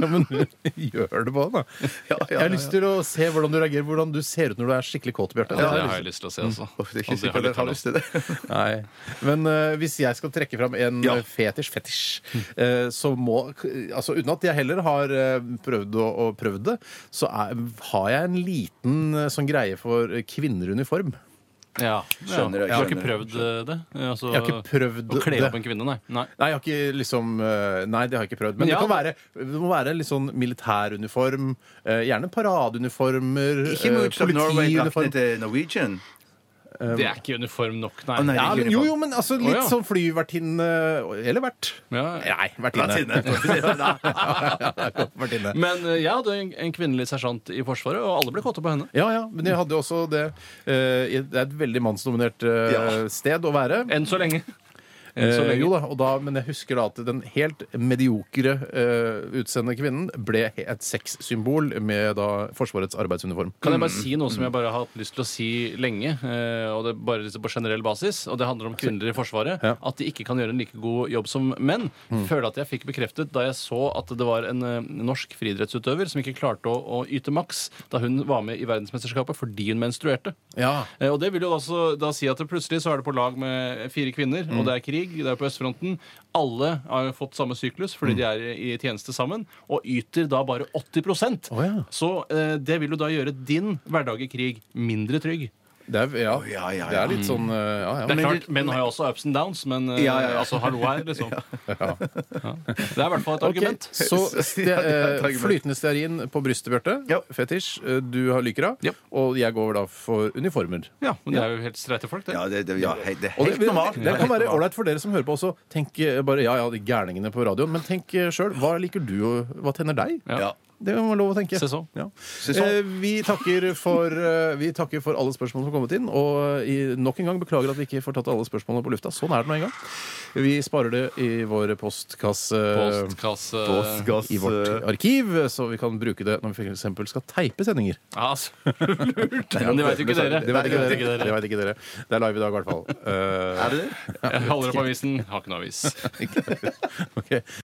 [SPEAKER 4] Ja, men gjør det på den, da. Jeg har lyst til å se hvordan du reagerer, hvordan du ser ut når du er skikkelig kåt, Bjarte. Det har jeg lyst
[SPEAKER 6] jeg lyst til å se, altså.
[SPEAKER 5] Uff, det er ikke sikkert dere har lyst til det.
[SPEAKER 4] til. Nei. Men eh, hvis jeg skal trekke fram en
[SPEAKER 5] Ja.
[SPEAKER 4] eh, fetisj, fetisj, eh, så må Altså uten at jeg heller har eh, prøvd å, og prøvd det, så er, har jeg en liten eh, sånn greie for kvinner i uniform.
[SPEAKER 6] Ja,
[SPEAKER 5] Skjønner det,
[SPEAKER 6] jeg har ikke
[SPEAKER 5] skjønner
[SPEAKER 6] prøvd eh, det. eh, Altså,
[SPEAKER 4] Jeg har ikke prøvd
[SPEAKER 6] å kle
[SPEAKER 4] det.
[SPEAKER 6] opp en kvinne, nei. nei.
[SPEAKER 4] Nei, jeg har ikke liksom eh, Nei, det har jeg ikke prøvd. Men,
[SPEAKER 6] Men
[SPEAKER 4] det,
[SPEAKER 6] ja,
[SPEAKER 4] kan være, det må være litt sånn militæruniform. eh, Gjerne paradeuniformer.
[SPEAKER 5] Ikke
[SPEAKER 4] eh,
[SPEAKER 5] Moods of
[SPEAKER 6] sånn
[SPEAKER 5] Norway-draktene
[SPEAKER 4] politiuniform.
[SPEAKER 5] til Norwegian.
[SPEAKER 6] Det er ikke uniform nok, nei.
[SPEAKER 5] Å, nei, det
[SPEAKER 4] Ja,
[SPEAKER 5] er
[SPEAKER 4] men,
[SPEAKER 5] ikke
[SPEAKER 4] jo,
[SPEAKER 5] uniform.
[SPEAKER 4] jo, men altså litt
[SPEAKER 6] liksom. Å, ja.
[SPEAKER 4] sånn flyvertinne Eller vert.
[SPEAKER 6] Ja.
[SPEAKER 4] Nei, vertinne. vertinne.
[SPEAKER 6] Men eh, jeg hadde en, en kvinnelig sersjant i Forsvaret, og alle ble kåte på henne.
[SPEAKER 4] Ja, ja, men jeg hadde også det eh, i- Det er et veldig mannsdominert eh,
[SPEAKER 5] Ja.
[SPEAKER 4] sted å være.
[SPEAKER 6] Enn så lenge. Enn så
[SPEAKER 4] Eh,
[SPEAKER 6] lenge.
[SPEAKER 4] jo da, og da, men jeg husker da at den helt mediokre eh, utseende kvinnen ble et sexsymbol med da Forsvarets arbeidsuniform.
[SPEAKER 6] Kan jeg bare si noe som jeg bare har hatt lyst til å si lenge, eh, og det er bare liksom på generell basis, og det handler om kvinner i Forsvaret.
[SPEAKER 4] Ja. Mm.
[SPEAKER 6] At de ikke kan gjøre en like god jobb som menn. Føler at jeg fikk bekreftet da jeg så at det var en eh, norsk friidrettsutøver som ikke klarte å, å yte maks da hun var med i verdensmesterskapet fordi hun menstruerte.
[SPEAKER 4] Ja.
[SPEAKER 6] Eh, Og det vil jo da, så- da si at det plutselig så er det på lag med fire kvinner, og det er krig, det er på østfronten. Alle har jo fått samme syklus fordi de er i i tjeneste sammen, og yter da bare 80
[SPEAKER 4] Å ja.
[SPEAKER 6] Så eh, det vil jo da gjøre din hverdag i krig mindre trygg.
[SPEAKER 4] Det er, ja,
[SPEAKER 5] ja, ja,
[SPEAKER 4] det
[SPEAKER 5] ja.
[SPEAKER 4] er litt sånn eh, Ja, ja.
[SPEAKER 6] Det er
[SPEAKER 5] Men
[SPEAKER 6] klart,
[SPEAKER 5] du-
[SPEAKER 6] Menn har jo også ups and downs, men eh,
[SPEAKER 5] Ja, ja, ja.
[SPEAKER 6] altså hallo her, liksom.
[SPEAKER 4] Ja.
[SPEAKER 6] Ja. Det er i hvert fall et
[SPEAKER 4] Ok,
[SPEAKER 6] argument.
[SPEAKER 4] Så ste
[SPEAKER 5] Ja, det er et
[SPEAKER 4] eh,
[SPEAKER 5] argument.
[SPEAKER 4] flytende stearin på brystet, Bjarte.
[SPEAKER 5] Ja.
[SPEAKER 4] Fetisj. Eh, Du har lykra.
[SPEAKER 6] Ja.
[SPEAKER 4] Og jeg går da for uniformer.
[SPEAKER 6] Ja, men det er jo helt streite folk, det.
[SPEAKER 5] Ja, det, det, ja, hei, det er
[SPEAKER 4] Og det,
[SPEAKER 5] helt normalt.
[SPEAKER 4] det kan være ålreit for dere som hører på også. eh, Tenk eh, bare ja, ja, de gærningene på radioen. Men tenk sjøl. Hva liker du, og hva tenner deg?
[SPEAKER 6] Ja.
[SPEAKER 5] Ja.
[SPEAKER 4] det må være lov å tenke.
[SPEAKER 6] Se så.
[SPEAKER 4] Ja.
[SPEAKER 5] Se så.
[SPEAKER 4] Eh, vi, takker for, eh, vi takker for alle spørsmål som har kommet inn. Og eh, i, nok en gang beklager at vi ikke får tatt alle spørsmålene på lufta. Sånn er det nå en gang. Vi sparer det i vår postkasse.
[SPEAKER 6] Postkasse
[SPEAKER 5] Postgass,
[SPEAKER 4] I vårt
[SPEAKER 5] eh,
[SPEAKER 4] arkiv, så vi kan bruke det når vi f.eks. skal teipe sendinger.
[SPEAKER 6] Ja, altså, lurt! Men det vet jo ikke dere.
[SPEAKER 4] Det vet ikke
[SPEAKER 6] Det
[SPEAKER 4] dere. Det, vet ikke dere. det er live i dag, i hvert fall. Eh,
[SPEAKER 5] Er det det?
[SPEAKER 6] Jeg holder opp avisen, har ikke noe avis.
[SPEAKER 4] ok.